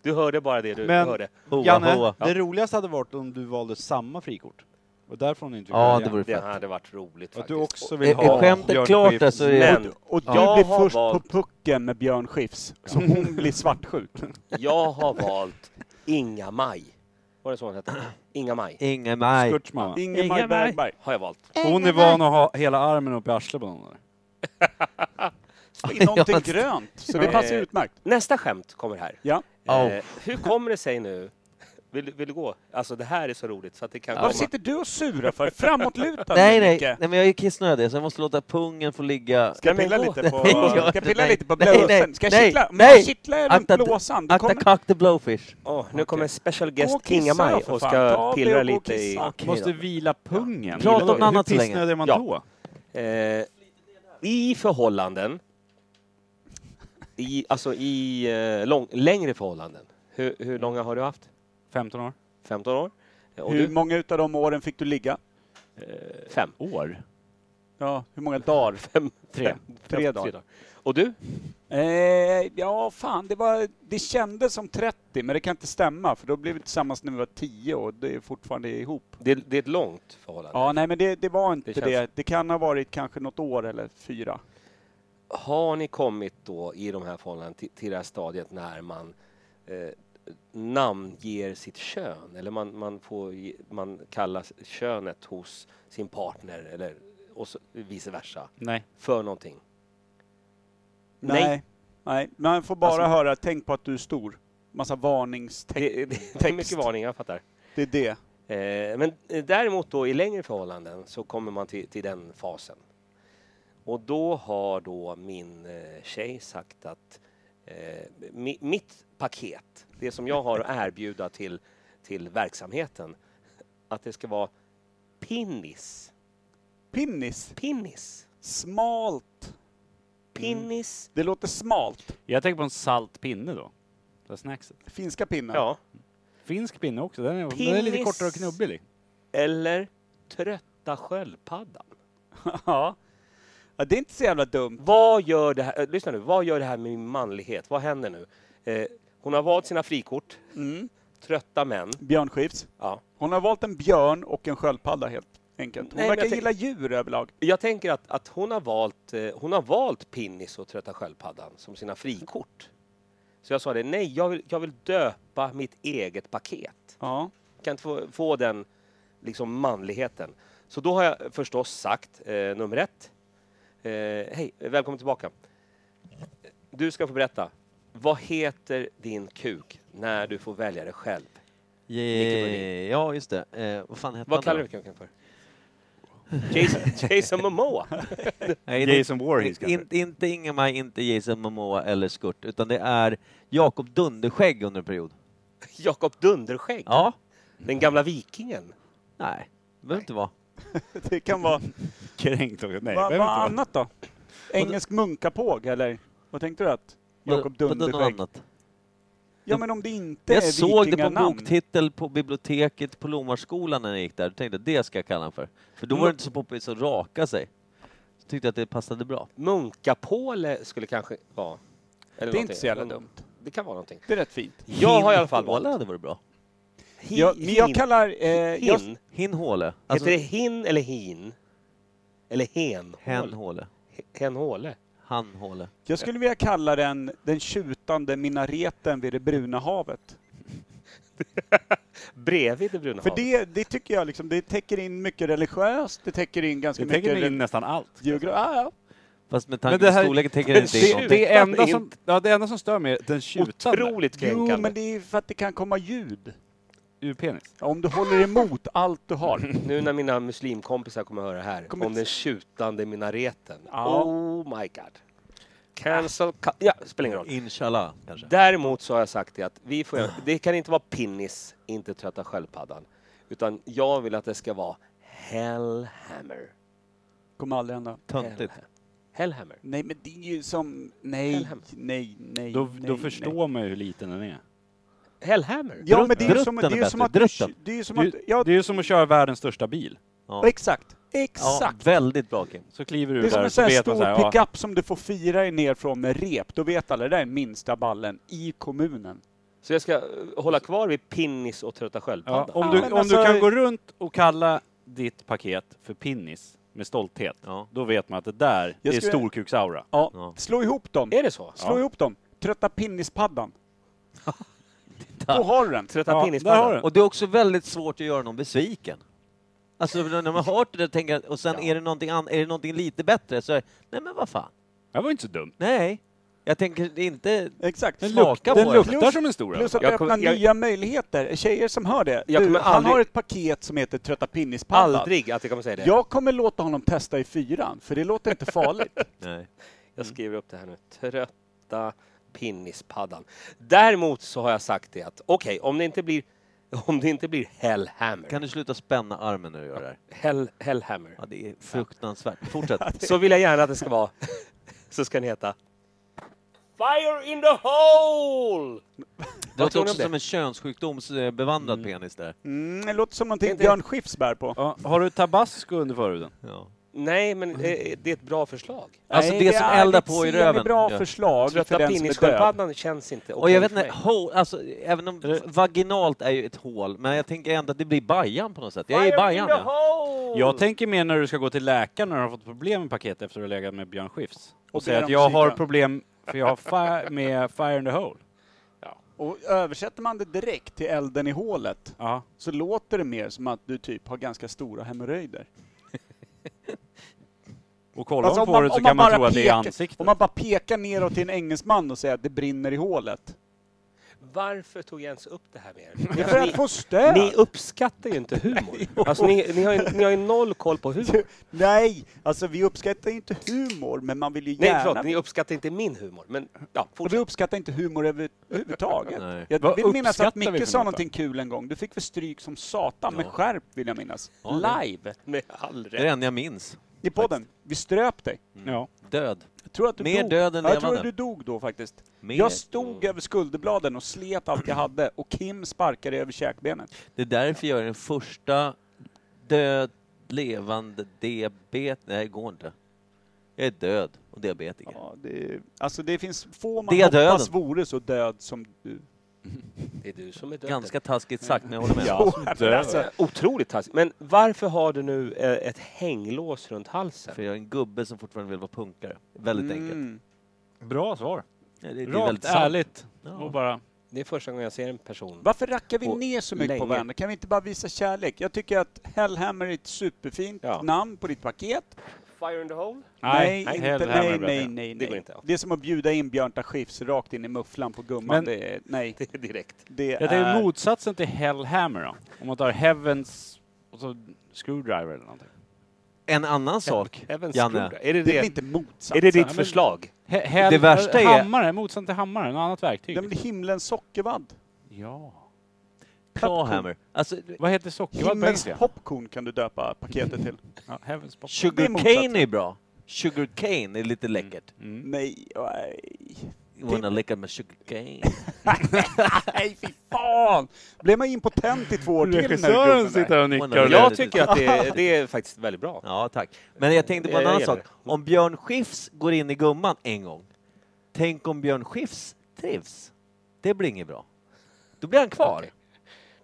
Speaker 1: Du hörde bara det du
Speaker 4: Men-
Speaker 1: hörde.
Speaker 2: hoa,
Speaker 4: Janne,
Speaker 2: hoa.
Speaker 4: det roligaste hade varit om du valde samma frikort. Och därför hon inte
Speaker 2: Ja,
Speaker 4: välja.
Speaker 2: det vore
Speaker 1: Det
Speaker 2: fett.
Speaker 1: hade varit roligt
Speaker 4: Att
Speaker 1: faktiskt.
Speaker 4: du också vill
Speaker 2: Är,
Speaker 4: ha
Speaker 2: är skämtet
Speaker 4: Björn
Speaker 2: klart
Speaker 4: Skifs.
Speaker 2: alltså? är-
Speaker 1: Men
Speaker 3: Och du
Speaker 1: Jag
Speaker 3: blir
Speaker 1: har
Speaker 3: först
Speaker 1: valt-
Speaker 3: på pucken med Björn Skifs, så
Speaker 2: <laughs>
Speaker 3: hon blir svartsjuk.
Speaker 1: jag har valt Inga-Maj. Var det så hon hette? Inga-Maj
Speaker 2: Inga maj.
Speaker 4: Skurts mamma.
Speaker 3: Ingemar Bergberg.
Speaker 1: har jag valt.
Speaker 4: Hon är van att ha hela armen uppe i arslet på någon. där.
Speaker 3: I någonting
Speaker 2: <laughs> Ja.
Speaker 3: grönt, så det passar utmärkt.
Speaker 1: Nästa skämt kommer här.
Speaker 3: Ja.
Speaker 2: Oh.
Speaker 1: Eh, hur kommer det sig nu? Vill, du- vill du gå? Alltså det här är så roligt så att det kan
Speaker 3: Varför
Speaker 1: komma.
Speaker 3: sitter du och surar för? Framåtlutad
Speaker 2: Nej, nej,
Speaker 3: Micke.
Speaker 2: nej, men jag är ju kissnödig så jag måste låta pungen få ligga.
Speaker 3: Ska jag
Speaker 1: Nej,
Speaker 3: pilla
Speaker 1: men
Speaker 3: lite på,
Speaker 2: Nej,
Speaker 3: ska
Speaker 2: jag-
Speaker 3: jag pilla
Speaker 2: nej,
Speaker 3: lite på
Speaker 2: nej, nej,
Speaker 3: blåsen? Ska jag
Speaker 2: nej,
Speaker 3: kittla? Om
Speaker 2: nej.
Speaker 3: jag kittlar runt
Speaker 2: Akta-
Speaker 3: blåsan, då
Speaker 2: Akta
Speaker 3: kommer...
Speaker 2: cock the blowfish.
Speaker 1: Åh, nu kommer special
Speaker 3: Gå och
Speaker 1: guest
Speaker 3: kissa då,
Speaker 1: Inga-Maj
Speaker 3: för
Speaker 1: och
Speaker 3: fan.
Speaker 1: ska
Speaker 3: Ta
Speaker 1: pillra
Speaker 3: det och gå och
Speaker 1: lite i...
Speaker 3: kissa.
Speaker 2: Okej
Speaker 4: Måste
Speaker 2: då.
Speaker 4: vila pungen.
Speaker 2: Prata om
Speaker 4: Hur
Speaker 2: annat så länge.
Speaker 4: pissnödig är man
Speaker 1: Ja.
Speaker 4: då?
Speaker 1: Eh, I förhållanden, i, alltså i eh, lång, längre förhållanden. Hur, hur långa har du haft?
Speaker 4: 15 år.
Speaker 1: 15 år? Eh, Och
Speaker 3: Hur
Speaker 1: du?
Speaker 3: många utav de åren fick du ligga?
Speaker 4: eh,
Speaker 1: Fem.
Speaker 4: år.
Speaker 3: Ja, hur många dagar?
Speaker 1: Fem, tre,
Speaker 3: Fem. Tre
Speaker 1: fem,
Speaker 3: dagar.
Speaker 1: Och du?
Speaker 3: Eh, ja, fan, det, var, det kändes som 30, men det kan inte stämma, för då blev vi tillsammans när vi var 10 och det är fortfarande ihop.
Speaker 1: Det, det är ett långt förhållande.
Speaker 3: Ja, nej, men det, det var inte
Speaker 1: Det
Speaker 3: det,
Speaker 1: känns-
Speaker 3: det. kan ha varit kanske något år eller fyra.
Speaker 1: Har ni kommit då i de här förhållandena till, till det här stadiet när man eh, namnger sitt kön eller man, man, får, ge- man kallar könet hos sin partner eller och så, vice versa
Speaker 4: Nej.
Speaker 1: för någonting?
Speaker 3: <laughs> Nej. nej. Man får bara
Speaker 1: Alltså-
Speaker 3: höra, tänk på att du är stor. Massa varningstext.
Speaker 1: Det, det, det är mycket varning, jag fattar.
Speaker 3: Det är det.
Speaker 1: Eh, men eh, däremot då i längre förhållanden så kommer man till, till den fasen. Och då har då min eh, tjej sagt att eh, mi, mitt paket, det som jag har att erbjuda till, till verksamheten, att det ska vara pinnis.
Speaker 3: Pinnis.
Speaker 1: Pinnis.
Speaker 3: Mm. Smalt.
Speaker 1: Pinnis.
Speaker 3: Det låter smalt.
Speaker 4: Jag tänker på en salt pinne då. Det här snackset.
Speaker 3: Finska pinnar.
Speaker 1: Ja.
Speaker 4: Finsk pinne också. Den är, den är lite
Speaker 1: Pinnis.
Speaker 4: kortare och knubbig.
Speaker 1: Eller trötta sköldpaddan.
Speaker 3: <laughs> ja. Ja, Det är inte så jävla dumt.
Speaker 1: Vad gör det här, eh, lyssna nu, vad gör det här med min manlighet? Vad händer nu? Eh, hon har valt sina frikort.
Speaker 3: Mm.
Speaker 1: Trötta män.
Speaker 3: Björn Skifs.
Speaker 1: Ja.
Speaker 3: Hon har valt en björn och en sköldpadda helt enkelt. Hon
Speaker 1: Nej, men
Speaker 3: verkar
Speaker 1: jag tänk-
Speaker 3: gilla djur överlag.
Speaker 1: Jag tänker att, att hon, har valt, eh, hon har valt pinnis och trötta sköldpaddan som sina frikort. Så jag sa det, nej, jag vill, jag vill döpa mitt eget paket.
Speaker 3: Ja. <laughs>
Speaker 1: Jag kan inte få, få den liksom manligheten. Så då har jag förstås sagt, eh, nummer ett, eh, hej, välkommen tillbaka. Du ska få berätta, vad heter din kuk när du får välja det själv? Micke Berlin.
Speaker 2: Ja, just det. Eh, vad fan hette
Speaker 1: Vad kallar
Speaker 2: han
Speaker 1: du kuken för? Jason, Jason Momoa?
Speaker 2: Nej, det-
Speaker 4: Jason Voorhees kanske.
Speaker 2: In, inte Ingemar, inte Jason Momoa eller Skurt, utan det är Jakob Dunderskägg under en period.
Speaker 1: Jakob Dunderskägg?
Speaker 2: Ja.
Speaker 1: Den gamla vikingen?
Speaker 2: Nej, det behöver inte vara.
Speaker 3: Det kan vara...
Speaker 4: Kränkt också. Nej,
Speaker 3: Vad
Speaker 4: behöver
Speaker 3: vad
Speaker 4: inte vara.
Speaker 3: annat då? Engelsk munkapåg eller? Vad tänkte du att? Jakob
Speaker 2: Vadå- vadå något
Speaker 3: Dunderskägg.
Speaker 2: annat?
Speaker 3: Ja men om det inte
Speaker 2: Jag
Speaker 3: är
Speaker 2: såg det på en
Speaker 3: vikinganamn.
Speaker 2: boktitel på biblioteket på Lomarskolan när jag gick där. Då tänkte jag det ska jag kalla den för. För då var det inte så poppis att raka sig. Så tyckte jag att det passade bra.
Speaker 1: Munkapåle skulle kanske vara... Eller
Speaker 3: Det är inte så jävla
Speaker 1: någonting.
Speaker 3: dumt.
Speaker 1: Det kan vara någonting.
Speaker 3: Det är rätt fint.
Speaker 1: Jag har i alla fall
Speaker 2: Hinhåla
Speaker 1: valt...
Speaker 2: hade varit bra.
Speaker 1: Hin,
Speaker 3: Jag, men jag
Speaker 1: hin-
Speaker 3: kallar... Eh, jag,
Speaker 1: hin.
Speaker 2: Hinhåle.
Speaker 3: Alltså-
Speaker 1: Heter det hin eller hin? Eller hen?
Speaker 2: Henhåle.
Speaker 1: H- Henhåle?
Speaker 2: Hanhåle.
Speaker 3: jag skulle vilja kalla den den tjutande minareten vid det bruna havet.
Speaker 1: Bredvid det bruna
Speaker 3: För
Speaker 1: havet.
Speaker 3: det, det tycker jag liksom, det täcker in mycket religiöst, det täcker in ganska
Speaker 4: Det
Speaker 3: mycket...
Speaker 4: täcker in nästan allt.
Speaker 3: geogra- ja, ja.
Speaker 2: Fast med
Speaker 4: Men
Speaker 2: tanke
Speaker 4: det
Speaker 2: på
Speaker 4: här-
Speaker 2: storleken tänker jag inte
Speaker 1: Det-
Speaker 2: det,
Speaker 1: det-
Speaker 2: någonting.
Speaker 4: <laughs> Det enda,
Speaker 1: Utan
Speaker 4: som, ja, det enda som stör mig är den tjutande
Speaker 1: Otroligt
Speaker 3: Jo,
Speaker 1: kränkande.
Speaker 3: men det är för att det kan komma ljud.
Speaker 4: ur penis.
Speaker 3: Om du håller emot allt du har.
Speaker 4: Mm.
Speaker 1: Nu när mina muslimkompisar kommer att höra här
Speaker 3: Kommer
Speaker 1: om
Speaker 3: ett-
Speaker 1: den tjutande minareten.
Speaker 3: Ja.
Speaker 1: Oh my god. Cancel... Ca ja, spelar ingen roll.
Speaker 2: Inshallah, kanske.
Speaker 1: Däremot så har jag sagt det att vi får, det kan inte vara pinnis, inte trötta sköldpaddan. Utan jag vill att det ska vara Hellhammer.
Speaker 3: Kommer aldrig hända.
Speaker 2: Töntigt.
Speaker 1: Hellhammer. Hellhammer.
Speaker 3: Nej, men det är ju som... Nej,
Speaker 1: Helhem.
Speaker 3: nej, nej.
Speaker 4: Då,
Speaker 3: nej,
Speaker 4: då
Speaker 3: nej.
Speaker 4: förstår man ju hur liten den är.
Speaker 1: Hellhammer?
Speaker 3: Ja, men det är ju
Speaker 2: Drutten
Speaker 3: som, det
Speaker 2: är
Speaker 3: är ju
Speaker 2: bättre.
Speaker 3: som att...
Speaker 2: Drutten.
Speaker 3: Det är ju som
Speaker 4: Det är
Speaker 3: att...
Speaker 4: ju-
Speaker 3: Ja,
Speaker 4: det är ju som att köra världens största bil.
Speaker 2: Ja.
Speaker 3: exakt.
Speaker 2: Ja,
Speaker 3: Exakt.
Speaker 2: väldigt bra Kim.
Speaker 4: Så kliver du
Speaker 3: Det är som en
Speaker 4: ur där och
Speaker 3: sån
Speaker 4: så
Speaker 3: här
Speaker 4: vet
Speaker 3: stor
Speaker 4: man så här, ja,
Speaker 3: pickup som du får fira dig ner från med rep. Då vet alla, det där är minsta ballen i kommunen.
Speaker 1: Så jag ska eh, hålla kvar vid pinnis och trötta
Speaker 4: ja,
Speaker 1: sköldpaddan?
Speaker 4: om,
Speaker 3: Ja,
Speaker 4: du,
Speaker 3: men
Speaker 4: om
Speaker 3: alltså-
Speaker 4: du kan gå runt och kalla ditt paket för pinnis med stolthet,
Speaker 2: Ja.
Speaker 4: då vet man att det där
Speaker 3: Jag
Speaker 4: är
Speaker 3: skulle-
Speaker 4: storkuksaura.
Speaker 3: Ja,
Speaker 2: Ja.
Speaker 3: slå ihop dem.
Speaker 1: Är det så?
Speaker 3: Slå
Speaker 1: Ja.
Speaker 3: ihop dem. Trötta pinnispaddan. Då har du den.
Speaker 1: Trötta
Speaker 4: Ja,
Speaker 1: pinnispaddan?
Speaker 4: där har du den.
Speaker 2: Och det är också väldigt svårt att göra någon besviken. Alltså när man har hört det där tänker jag, och sen
Speaker 1: Ja.
Speaker 2: är, det någonting an, är det någonting lite bättre så är nej men vad fan.
Speaker 4: Det var ju inte så dumt.
Speaker 2: Nej, jag tänker det är inte...
Speaker 3: Exakt.
Speaker 4: Den,
Speaker 2: Smaka
Speaker 4: luk
Speaker 2: på
Speaker 4: den
Speaker 2: det.
Speaker 4: luktar
Speaker 3: Plus-
Speaker 4: som en stor
Speaker 3: Plus att
Speaker 1: Jag
Speaker 3: det
Speaker 1: kommer-
Speaker 3: öppnar
Speaker 1: jag-
Speaker 3: nya möjligheter. Tjejer som hör det.
Speaker 1: Jag
Speaker 3: Du,
Speaker 1: kommer
Speaker 3: han
Speaker 1: aldrig-
Speaker 3: har ett paket som heter Trötta pinnispaddan.
Speaker 1: Aldrig att jag kommer säga det.
Speaker 3: Jag kommer låta honom testa i fyran, för det låter inte
Speaker 1: <laughs>
Speaker 3: farligt.
Speaker 2: Nej.
Speaker 1: Jag skriver upp det här nu. Trötta pinnispaddan. Däremot så har jag sagt det att okej, om det inte blir <laughs> om det inte blir Hellhammer,
Speaker 2: Kan du sluta spänna armen när du gör det här?
Speaker 1: Hell, Hellhammer,
Speaker 2: Ja, det är fruktansvärt. Fortsätt.
Speaker 1: så vill jag gärna att det ska vara, <laughs> så ska den heta Fire in the hole!
Speaker 2: Det låter
Speaker 1: tror ni
Speaker 2: också
Speaker 1: om
Speaker 2: som
Speaker 1: det?
Speaker 2: en könssjukdomsbevandrad penis där.
Speaker 3: Mm, det låter som någonting
Speaker 1: Inte-
Speaker 3: Björn Skifs bär på.
Speaker 4: Ja, har du tabasco under förhuden?
Speaker 2: Ja.
Speaker 1: Nej, men eh, det är ett bra förslag.
Speaker 2: Alltså det som
Speaker 3: är
Speaker 2: eldar
Speaker 3: ett
Speaker 2: på i
Speaker 3: semi-
Speaker 2: röven.
Speaker 3: bra
Speaker 2: Ja.
Speaker 3: förslag för
Speaker 1: Trötta
Speaker 3: den som är död.
Speaker 1: pinnissköldpaddan känns inte okej
Speaker 2: Och jag vet
Speaker 1: för
Speaker 2: inte,
Speaker 1: mig.
Speaker 2: ho, alltså, även om vaginalt är ju ett hål, men jag tänker ändå att det blir Bajan på något sätt. Jag är i Bajan. ja.
Speaker 4: Jag tänker mer när du ska gå till läkaren när du har fått problem med paket efter att ha legat med Björn Skifs. Och,
Speaker 3: Och
Speaker 4: säga
Speaker 3: ber
Speaker 4: att
Speaker 3: om
Speaker 4: jag har
Speaker 3: psykan.
Speaker 4: problem för jag har fi- med fire in the hole.
Speaker 3: Och översätter man det direkt till elden i hålet
Speaker 4: Ja.
Speaker 3: så låter det mer som att du typ har ganska stora hemorrojder.
Speaker 4: Och kollar
Speaker 3: Alltså,
Speaker 4: man på det så kan man
Speaker 3: bara
Speaker 4: tro att det är
Speaker 3: pekar-
Speaker 4: ansiktet.
Speaker 3: Om man bara pekar neråt till en engelsman och säger att det brinner i hålet.
Speaker 1: Varför tog jag ens upp det här med
Speaker 2: <laughs>
Speaker 1: er?
Speaker 3: Det är
Speaker 1: Alltså,
Speaker 3: för
Speaker 1: ni-
Speaker 3: att få stöd!
Speaker 1: Ni uppskattar ju inte <laughs> humor. Alltså, ni, ni, har ju, ni har ju noll koll på <laughs> humor.
Speaker 3: Nej, alltså vi uppskattar ju inte humor, men man vill ju
Speaker 1: Nej,
Speaker 3: gärna...
Speaker 1: förlåt, ni uppskattar inte min humor. Men ja,
Speaker 3: Och vi
Speaker 1: fortsätt.
Speaker 3: uppskattar inte humor över- överhuvudtaget.
Speaker 2: Nej.
Speaker 3: Jag
Speaker 4: Vad
Speaker 3: vill minnas
Speaker 4: uppskattar
Speaker 3: att
Speaker 4: vi för
Speaker 3: Micke
Speaker 4: något
Speaker 3: sa
Speaker 4: då?
Speaker 3: någonting kul en gång. Du fick väl stryk som satan med skärp, vill jag minnas.
Speaker 2: det-
Speaker 3: Live!
Speaker 1: Med all
Speaker 2: Det är det
Speaker 1: rätt.
Speaker 2: enda jag minns.
Speaker 3: I podden. Vi ströp dig.
Speaker 4: Ja.
Speaker 2: Död.
Speaker 3: Jag tror att du
Speaker 2: Mer
Speaker 3: dog.
Speaker 2: död än
Speaker 3: ja, Jag tror
Speaker 2: levande.
Speaker 3: att du dog då faktiskt.
Speaker 2: Mer.
Speaker 3: Jag stod över skulderbladen och slet allt jag hade och Kim sparkade över käkbenet.
Speaker 2: Det är därför jag är den första död, levande diabet... Nej, det går inte. Jag är död och diabetiker.
Speaker 3: Ja, det, alltså det finns få man
Speaker 2: Det är
Speaker 3: hoppas
Speaker 2: döden.
Speaker 3: vore så död som du.
Speaker 1: Det är du som är döden.
Speaker 2: Ganska taskigt sagt, men jag håller med.
Speaker 3: Ja, men alltså,
Speaker 1: Otroligt taskigt. Men varför har du nu eh, ett hänglås runt halsen?
Speaker 2: För jag är en gubbe som fortfarande vill vara punkare. Väldigt enkelt.
Speaker 3: mm.
Speaker 4: Bra svar.
Speaker 2: Ja, Det, det är
Speaker 4: Rakt,
Speaker 2: väldigt sant.
Speaker 4: ärligt. Och
Speaker 2: Ja.
Speaker 4: bara...
Speaker 1: Det är första gången jag ser en person.
Speaker 3: Varför rackar vi
Speaker 1: Och
Speaker 3: ner så mycket på
Speaker 1: länge.
Speaker 3: varandra? Kan vi inte bara visa kärlek? Jag tycker att Hellhammer är ett superfint
Speaker 1: Ja.
Speaker 3: namn på ditt paket.
Speaker 1: Fire in the hole?
Speaker 3: Nej,
Speaker 4: nej,
Speaker 3: inte,
Speaker 4: Hellhammer
Speaker 3: nej,
Speaker 4: är bra.
Speaker 3: nej, nej,
Speaker 1: Det går
Speaker 3: nej.
Speaker 1: inte, ja.
Speaker 3: Det är som att bjuda in Björn Skifs rakt in i mufflan på gumman.
Speaker 4: Men-
Speaker 3: det är, nej,
Speaker 1: Det är direkt.
Speaker 3: det
Speaker 4: Jag
Speaker 3: är...
Speaker 4: tänker motsatsen till Hellhammer då. Om man tar Heavens och så Screwdriver eller någonting.
Speaker 2: En annan sak,
Speaker 1: Även
Speaker 2: Janne.
Speaker 1: Scrooge. Är det,
Speaker 3: det är väl
Speaker 1: det,
Speaker 3: inte motsatsen?
Speaker 1: är det
Speaker 4: Ja,
Speaker 1: ditt
Speaker 4: men-
Speaker 1: <laughs> förslag?
Speaker 4: He- hell-
Speaker 2: Det värsta är-
Speaker 4: Hammare, motsatsen till hammare, något annat verktyg.
Speaker 3: Ja, men det är himlens sockervadd.
Speaker 4: Ja.
Speaker 2: Clawhammer. Alltså,
Speaker 4: Vad heter sockervadd på
Speaker 3: Himmels
Speaker 4: engelska?
Speaker 3: popcorn kan du döpa paketet till.
Speaker 4: Ja, Heavens Pop.
Speaker 3: Det är
Speaker 2: sugar cane är bra. Sugar cane är lite läckert.
Speaker 4: Mm.
Speaker 3: Nej, nej.
Speaker 2: You wanna licka med sugar cane?
Speaker 3: Nej, fy fan! Blev man impotent i två år till den här gubben där?
Speaker 4: och
Speaker 2: nickar och
Speaker 1: Jag
Speaker 2: det-
Speaker 1: tycker att det är, det är faktiskt väldigt bra.
Speaker 2: Ja, tack. Men jag tänkte på
Speaker 1: Jag-
Speaker 2: en
Speaker 1: jag
Speaker 2: annan
Speaker 1: gillar
Speaker 2: sak. Om Björn Skifs går in i gumman en gång, tänk om Björn Skifs trivs. Det blir inget bra. Då blir han kvar.
Speaker 1: Okej.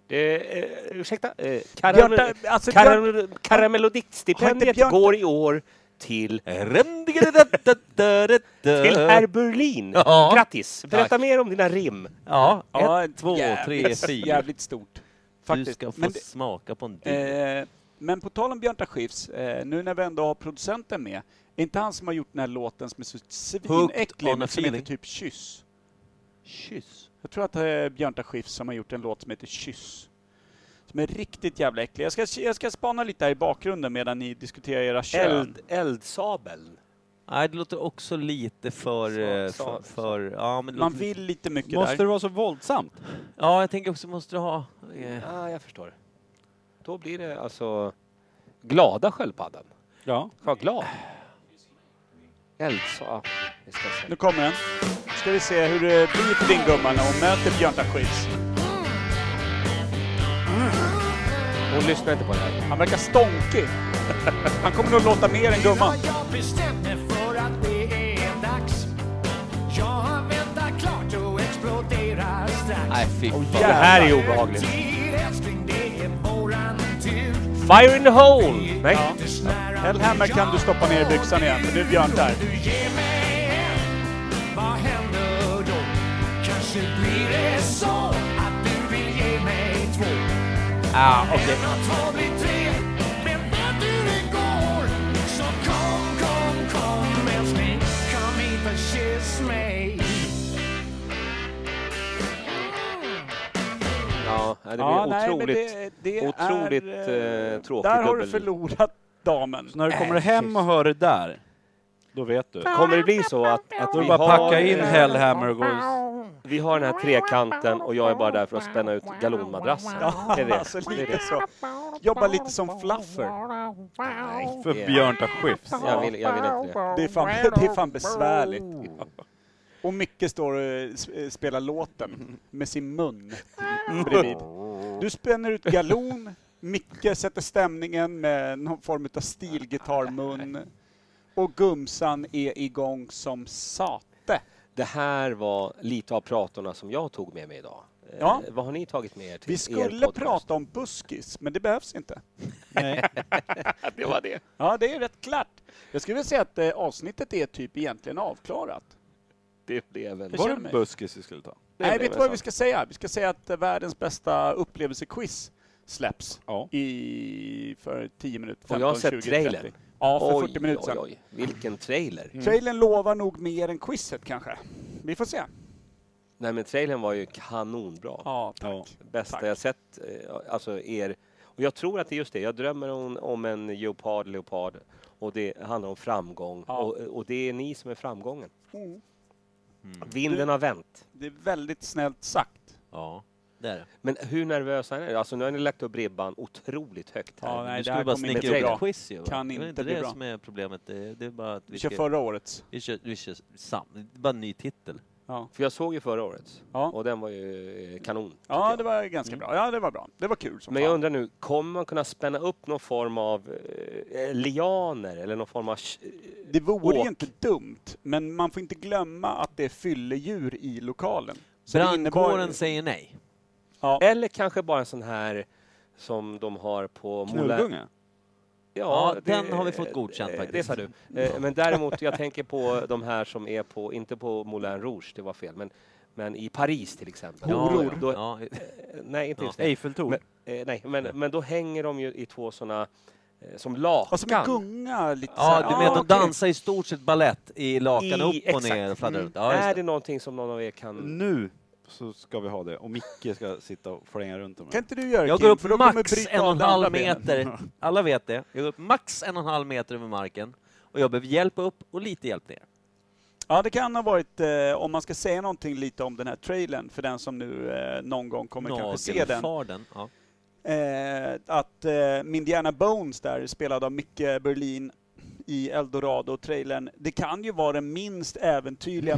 Speaker 1: Det, eh, ursäkta? Eh,
Speaker 3: Björn,
Speaker 1: karamel,
Speaker 3: alltså Björn,
Speaker 1: karamel, Karamelodiktstipendiet
Speaker 3: Björn-
Speaker 1: går i år till,
Speaker 2: <laughs>
Speaker 1: till herr Berlin.
Speaker 2: Ja.
Speaker 1: Grattis! Berätta
Speaker 2: Tack.
Speaker 1: mer om dina rim.
Speaker 2: Ja,
Speaker 3: Ja,
Speaker 2: ett, två, tre,
Speaker 3: jävligt-
Speaker 2: fyra.
Speaker 3: Jävligt stort.
Speaker 2: Du
Speaker 3: Faktiskt.
Speaker 2: ska få
Speaker 3: men, det-
Speaker 2: smaka på en dill.
Speaker 3: eh, men på tal om Björn Skifs, eh, nu när vi ändå har producenten med, är inte han som har gjort den här låten som är så
Speaker 2: Hooked
Speaker 3: svinäcklig,
Speaker 2: on a
Speaker 3: men som heter
Speaker 2: feeling.
Speaker 3: typ Kyss?
Speaker 2: Kyss.
Speaker 3: Jag tror att det är Björn Skifs som har gjort en låt som heter Kyss. Som är riktigt jävla äcklig. Jag ska, jag ska spana lite här i bakgrunden medan ni diskuterar era kön.
Speaker 1: Eld, eldsabeln.
Speaker 2: Nej, det låter också lite för... eh,
Speaker 1: Sa-
Speaker 2: för,
Speaker 1: sa-
Speaker 2: för ja, men det
Speaker 3: Man
Speaker 2: låter-
Speaker 3: vill lite mycket
Speaker 4: Måste
Speaker 3: där.
Speaker 4: det vara så våldsamt?
Speaker 2: ja, jag tänker också måste du ha... eh,
Speaker 1: Ja, ah, jag förstår. Då blir det alltså glada sköldpaddan.
Speaker 4: Ja.
Speaker 1: Vad glad. Eldsa... Vi ska se.
Speaker 3: Nu kommer den. ska vi se hur det blir för din gumma när hon möter Björn Skifs.
Speaker 1: Hon lyssnar inte på det här.
Speaker 3: Han verkar <laughs> stonkig. Han kommer nog låta mer än gumman.
Speaker 7: Jag bestämde för att det är dags Jag har väntat klart och exploderar strax
Speaker 2: Nej, fy
Speaker 1: Det
Speaker 2: fan.
Speaker 1: här är obehagligt.
Speaker 7: Tid älskling, det är våran tur
Speaker 1: Fire in the hole! Nej.
Speaker 3: Ja. Hellhammer kan du stoppa ner i byxan igen, för nu är Björn där.
Speaker 7: Du ger mig en Vad händer då? Kanske blir det så att du vill ge mig två
Speaker 2: Ah, okej.
Speaker 7: En och två blir tre Men vart du än går Så kom, kom, kom älskling Kom hit och kyss mig
Speaker 1: Ja, det blir otroligt, otroligt eh, tråkig
Speaker 3: Där har du
Speaker 1: dubbel.
Speaker 3: förlorat damen.
Speaker 4: Så när du kommer hem och hör det där, då vet du.
Speaker 1: Kommer det bli så att, att
Speaker 4: Då är
Speaker 1: vi,
Speaker 4: det bara att packa in
Speaker 1: eh,
Speaker 4: Hellhammer och gå och...
Speaker 1: vi har den här trekanten och jag är bara där för att spänna ut galonmadrassen?
Speaker 3: Ja,
Speaker 1: Det är det.
Speaker 3: alltså
Speaker 1: Det är
Speaker 3: lite
Speaker 1: det.
Speaker 3: så. Jobba lite som fluffer.
Speaker 4: För
Speaker 1: Ja.
Speaker 4: Björn tar
Speaker 3: <laughs>
Speaker 4: skifts.
Speaker 1: Jag vill, jag vill inte det. <laughs>
Speaker 3: Det är fan, det är fan besvärligt. Och Micke står och eh, s- eh, spelar låten med sin mun
Speaker 1: <laughs>
Speaker 3: bredvid. Du spänner ut galon, Micke sätter stämningen med någon form av stilgitarrmun och Gumsan är igång som sate.
Speaker 1: Det här var lite av pratorna som jag tog med mig idag. Eh,
Speaker 3: Ja.
Speaker 1: Vad har ni tagit med er till
Speaker 3: Vi skulle prata om buskis, men det behövs inte.
Speaker 1: om <laughs> det. Var det.
Speaker 3: Ja, det är rätt klart. Jag skulle vilja säga att eh, avsnittet är typ egentligen avklarat.
Speaker 1: Det blev en...
Speaker 3: Jag
Speaker 4: Var det
Speaker 3: känner mig.
Speaker 4: buskis vi skulle ta?
Speaker 3: Nej, vet
Speaker 1: blev
Speaker 3: du vad
Speaker 1: så.
Speaker 3: vi ska säga? Vi ska säga att eh, världens bästa upplevelsequiz släpps
Speaker 4: Ja.
Speaker 3: i, för 10 minuter,
Speaker 1: Och
Speaker 3: 15,
Speaker 1: jag har sett
Speaker 3: 20,
Speaker 1: trailern.
Speaker 3: 30. Ja, för 40 minuter
Speaker 1: oj,
Speaker 3: sedan. Mm.
Speaker 1: oj. Mm. Vilken trailer!
Speaker 3: Trailern lovar nog mer än quizet kanske. Vi får se.
Speaker 1: Nej men trailern var ju kanonbra.
Speaker 3: Ja, tack.
Speaker 4: Ja.
Speaker 1: Bästa jag sett, eh, alltså er. Och jag tror att det är just det, jag drömmer om, om en leopard, leopard. Och det handlar om framgång.
Speaker 3: Ja.
Speaker 1: Och, och det är ni som är framgången.
Speaker 3: Mm.
Speaker 1: Vinden har vänt.
Speaker 3: Det är väldigt snällt sagt.
Speaker 2: Ja, det är det.
Speaker 1: Men hur nervösa är ni? Alltså nu har ni lagt upp ribban otroligt högt här.
Speaker 3: Ja, nej,
Speaker 2: vi
Speaker 3: det
Speaker 2: skulle
Speaker 3: här
Speaker 2: bara
Speaker 3: kommer inte
Speaker 2: snickra
Speaker 1: bli
Speaker 2: ihop
Speaker 1: bra.
Speaker 2: ett quiz ju. va?
Speaker 3: Kan
Speaker 2: det är väl
Speaker 3: inte
Speaker 2: inte
Speaker 3: bli
Speaker 2: det
Speaker 3: bra.
Speaker 2: som är problemet. Det, det är bara att
Speaker 3: Vi
Speaker 2: vi
Speaker 3: kör
Speaker 2: ska...
Speaker 3: förra årets.
Speaker 2: Vi kör, vi kör sam. Det är bara en ny titel.
Speaker 3: Ja,
Speaker 1: För jag såg ju förra årets.
Speaker 3: Ja.
Speaker 1: Och den var ju eh, kanon.
Speaker 3: ja det var ganska bra. Ja, det var bra. Det var kul som
Speaker 1: Mm. Men jag
Speaker 3: fan.
Speaker 1: undrar nu, kommer man kunna spänna upp någon form av eh, lianer eller någon form av...
Speaker 3: Det vore
Speaker 1: Åk.
Speaker 3: ju inte dumt, men man får inte glömma att det är fylledjur i lokalen. Så det innebar-
Speaker 2: Brandkåren säger nej.
Speaker 3: Ja.
Speaker 1: eh, Eller kanske bara en sån här som de har på... Moulin-
Speaker 4: Knullgunga?
Speaker 2: Ja, den har vi fått godkänt
Speaker 1: eh,
Speaker 2: faktiskt.
Speaker 1: Det sa du. Eh, Men däremot, jag tänker på de här som är på, inte på Moulin Rouge, det var fel, men, men i Paris till exempel.
Speaker 2: Ja,
Speaker 1: Då,
Speaker 2: ja.
Speaker 1: eh, nej, inte
Speaker 2: Ja.
Speaker 1: just det.
Speaker 4: Eiffeltorn?
Speaker 1: Men, eh, nej, men, men då hänger de ju i två såna eh, som lakan.
Speaker 3: Och som en gunga lite så
Speaker 2: ja,
Speaker 3: här.
Speaker 2: du menar att de
Speaker 3: okej.
Speaker 2: dansar i stort sett ballett i lakan
Speaker 1: I-
Speaker 2: upp och
Speaker 1: exakt.
Speaker 2: ner och fladdrar
Speaker 3: Mm.
Speaker 2: runt. Ja,
Speaker 1: är
Speaker 2: just
Speaker 1: det någonting som någon av er kan...
Speaker 4: Nu så ska vi ha det och Micke ska sitta och flänga runt om
Speaker 3: Kan inte du göra
Speaker 2: det. Jag
Speaker 3: Kim?
Speaker 2: går upp
Speaker 3: För då kommer
Speaker 2: max
Speaker 3: bryta
Speaker 2: en
Speaker 3: av
Speaker 2: och en
Speaker 3: det andra
Speaker 2: halv
Speaker 3: benet.
Speaker 2: meter. Alla vet det. Jag går upp max en och en halv meter över marken. Och jag behöver hjälp upp och lite hjälp ner.
Speaker 3: Ja, det kan ha varit, eh, om man ska säga någonting lite om den här trailern, för den som nu eh, någon gång kommer kanske se den.
Speaker 2: Nagelfarden. Ja.
Speaker 3: Eh, att eh, Mindiana Bones där, spelad av Micke Berlin i Eldorado-trailern, det kan ju vara den minst äventyrliga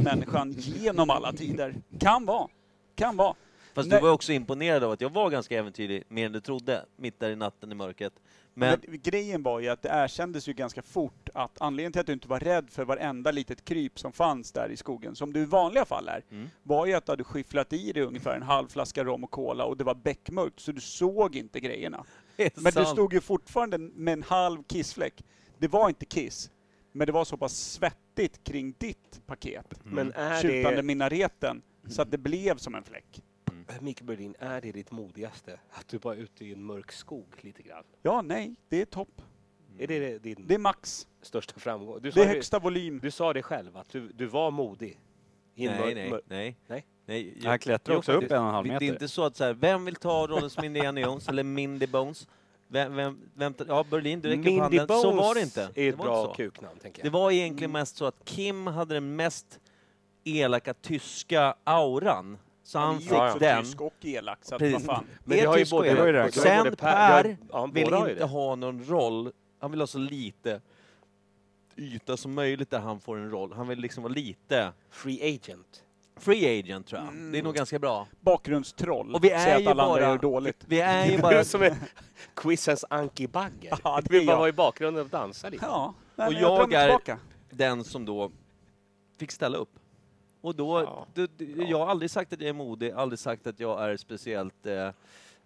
Speaker 2: <laughs>
Speaker 3: människan genom alla tider. Kan vara. Kan vara.
Speaker 2: Fast
Speaker 3: Nej.
Speaker 2: du var också imponerad av att jag var ganska äventyrlig, mer än du trodde, mitt där i natten i mörkret. Men,
Speaker 3: Men, grejen var ju att det erkändes ju ganska fort att anledningen till att du inte var rädd för varenda litet kryp som fanns där i skogen, som du i vanliga fall är,
Speaker 2: Mm.
Speaker 3: var ju att du hade skyfflat i dig ungefär en halv flaska rom och cola och det var beckmörkt, så du såg inte grejerna.
Speaker 2: det är
Speaker 3: Men du
Speaker 2: sant.
Speaker 3: stod ju fortfarande med en halv kissfläck. Det var inte kiss, men det var så pass svettigt kring ditt paket,
Speaker 1: Men
Speaker 3: Mm.
Speaker 1: är
Speaker 3: tjutande
Speaker 1: det,
Speaker 3: minareten, så att det blev som en fläck.
Speaker 1: Mikael Eh, Berlin, är det ditt modigaste? Att du bara är ute i en mörk skog lite grann?
Speaker 3: Ja, nej, det är topp.
Speaker 2: Mm.
Speaker 1: Är det din
Speaker 3: Det är max.
Speaker 1: största framgång? Du sa
Speaker 3: Det är
Speaker 1: ju-
Speaker 3: högsta volym.
Speaker 1: Du sa det själv, att du, du var modig. I en mör-
Speaker 2: Nej, nej,
Speaker 1: mör-
Speaker 2: nej.
Speaker 1: Nej.
Speaker 2: nej
Speaker 4: Han klättrar
Speaker 2: Jo,
Speaker 4: också upp
Speaker 2: det-
Speaker 4: en och en halv
Speaker 2: Det är
Speaker 4: meter.
Speaker 2: inte så att så här, vem vill ta rollen som Indiana Jones eller Mindy Bones? Vem, vem, vem, tar- ja, Berlin, du räcker upp
Speaker 1: Mindy
Speaker 2: handen. Så
Speaker 1: Bones
Speaker 2: var det inte.
Speaker 1: är
Speaker 2: det
Speaker 1: ett
Speaker 2: var
Speaker 1: bra Mm.
Speaker 2: inte så.
Speaker 1: kuknamn, tänker
Speaker 2: Det
Speaker 1: jag.
Speaker 2: var egentligen mest så att Kim hade den mest elaka tyska auran. Så han fick
Speaker 1: ja.
Speaker 2: den.
Speaker 3: Tysk och elak, så att vad
Speaker 2: Precis.
Speaker 3: fan.
Speaker 1: Men
Speaker 2: är
Speaker 1: vi har ju
Speaker 2: tysk och
Speaker 1: både-
Speaker 2: elak.
Speaker 1: det var ju det här. Det var
Speaker 2: Sen
Speaker 1: både
Speaker 2: Per,
Speaker 1: Per- ja, båda
Speaker 2: vill
Speaker 1: har ju
Speaker 2: inte
Speaker 1: det.
Speaker 2: ha någon roll. Han vill ha så lite yta som möjligt där han får en roll. Han vill liksom vara lite
Speaker 1: Free agent.
Speaker 2: free agent tror jag. Det är nog ganska bra.
Speaker 3: bakgrundstroll.
Speaker 2: Och vi
Speaker 3: Säga
Speaker 2: är
Speaker 3: att
Speaker 2: ju
Speaker 3: alla andra
Speaker 2: bara-
Speaker 3: gör dåligt.
Speaker 2: Vi är ju
Speaker 1: Du
Speaker 2: bara...
Speaker 1: är som är quizens Anki Bagger.
Speaker 3: Ja, det
Speaker 1: du
Speaker 3: är
Speaker 1: vill bara
Speaker 3: jag.
Speaker 1: vara i bakgrunden och dansa lite.
Speaker 3: Ja, nej,
Speaker 2: Och
Speaker 3: men jag,
Speaker 2: jag
Speaker 3: drömmer
Speaker 2: är-
Speaker 3: tillbaka.
Speaker 2: den som då fick ställa upp. Och då,
Speaker 1: Ja.
Speaker 2: du, du, jag har aldrig sagt att jag är modig, aldrig sagt att jag är speciellt eh,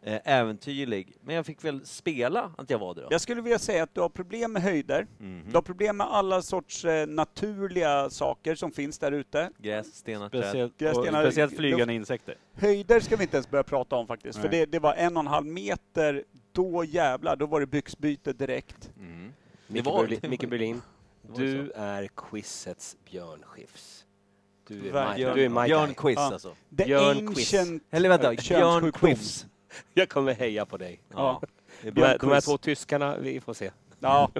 Speaker 2: eh, äventyrlig. Men jag fick väl spela att jag var det då. Mhm.
Speaker 3: Jag skulle vilja säga att du har problem med höjder.
Speaker 2: Mm.
Speaker 3: Du har problem med alla sorts eh, naturliga saker som finns där ute.
Speaker 2: Gräs, stenar, träd.
Speaker 4: Speciellt,
Speaker 3: Jag
Speaker 4: och
Speaker 3: stenar-
Speaker 4: speciellt flygande insekter.
Speaker 3: Höjder ska vi inte ens börja prata om faktiskt, för
Speaker 4: Nej.
Speaker 3: det, det var en och en halv meter. Då jävlar, då var det byxbyte direkt.
Speaker 2: Mhm.
Speaker 1: Micke
Speaker 2: var-
Speaker 1: Berlin, Micke Berlin
Speaker 2: var
Speaker 1: du är quizets Björn Skifs. Du är my,
Speaker 3: Verkligen.
Speaker 1: du är my
Speaker 2: Björn
Speaker 1: guy.
Speaker 2: Quiz
Speaker 3: Ja.
Speaker 2: alltså.
Speaker 3: The
Speaker 1: Björn Quiz.
Speaker 3: ancient...
Speaker 2: Eller vänta,
Speaker 3: könssjukdom.
Speaker 2: Björn Quiz.
Speaker 1: Jag kommer heja på dig.
Speaker 3: Ja.
Speaker 2: det är
Speaker 1: De här,
Speaker 2: bra.
Speaker 1: de här två tyskarna, vi får se.
Speaker 3: ja.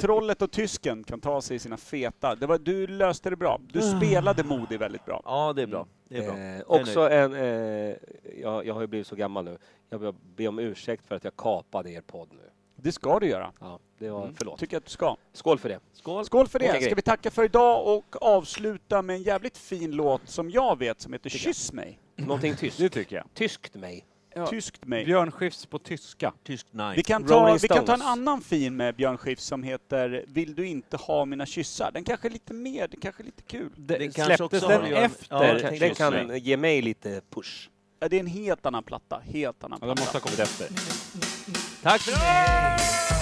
Speaker 3: Trollet och tysken kan ta sig i sina feta. Det var, du löste det bra. Du spelade modig väldigt bra.
Speaker 2: Ja, det är bra. Det är bra. Jag
Speaker 1: Eh,
Speaker 2: är nöjd.
Speaker 1: också en, eh, jag, jag har ju blivit så gammal nu. Jag ber- ber om ursäkt för att jag kapade er podd nu.
Speaker 3: Det ska du göra.
Speaker 1: Ja, det var, förlåt.
Speaker 3: Tycker jag att du ska.
Speaker 1: Skål för det.
Speaker 2: Skål!
Speaker 3: Skål för
Speaker 1: Okej,
Speaker 3: det! Ska
Speaker 1: grej.
Speaker 3: vi tacka för idag och avsluta med en jävligt fin låt som jag vet som heter Kyss mig.
Speaker 1: Någonting tyskt.
Speaker 4: Det tycker jag.
Speaker 1: Tyskt mig.
Speaker 3: Tyskt mig.
Speaker 4: Björn Skifs på tyska.
Speaker 2: Tyskt nej.
Speaker 3: Vi kan, ta,
Speaker 1: Rolling
Speaker 3: vi kan ta en
Speaker 1: Stones.
Speaker 3: annan fin med Björn Skifs som heter Vill du inte ha mina kyssar? Den kanske är lite mer, den kanske är lite kul.
Speaker 2: Den
Speaker 4: kanske också har att göra med- Ja,
Speaker 1: Den,
Speaker 4: jag
Speaker 1: kan-
Speaker 4: tänkte
Speaker 1: den
Speaker 4: också
Speaker 1: kan ge mig lite push.
Speaker 3: Ja, Det är en helt annan platta, helt annan
Speaker 4: Ja, de
Speaker 3: platta.
Speaker 4: måste ha kommit efter.
Speaker 2: Tack för det!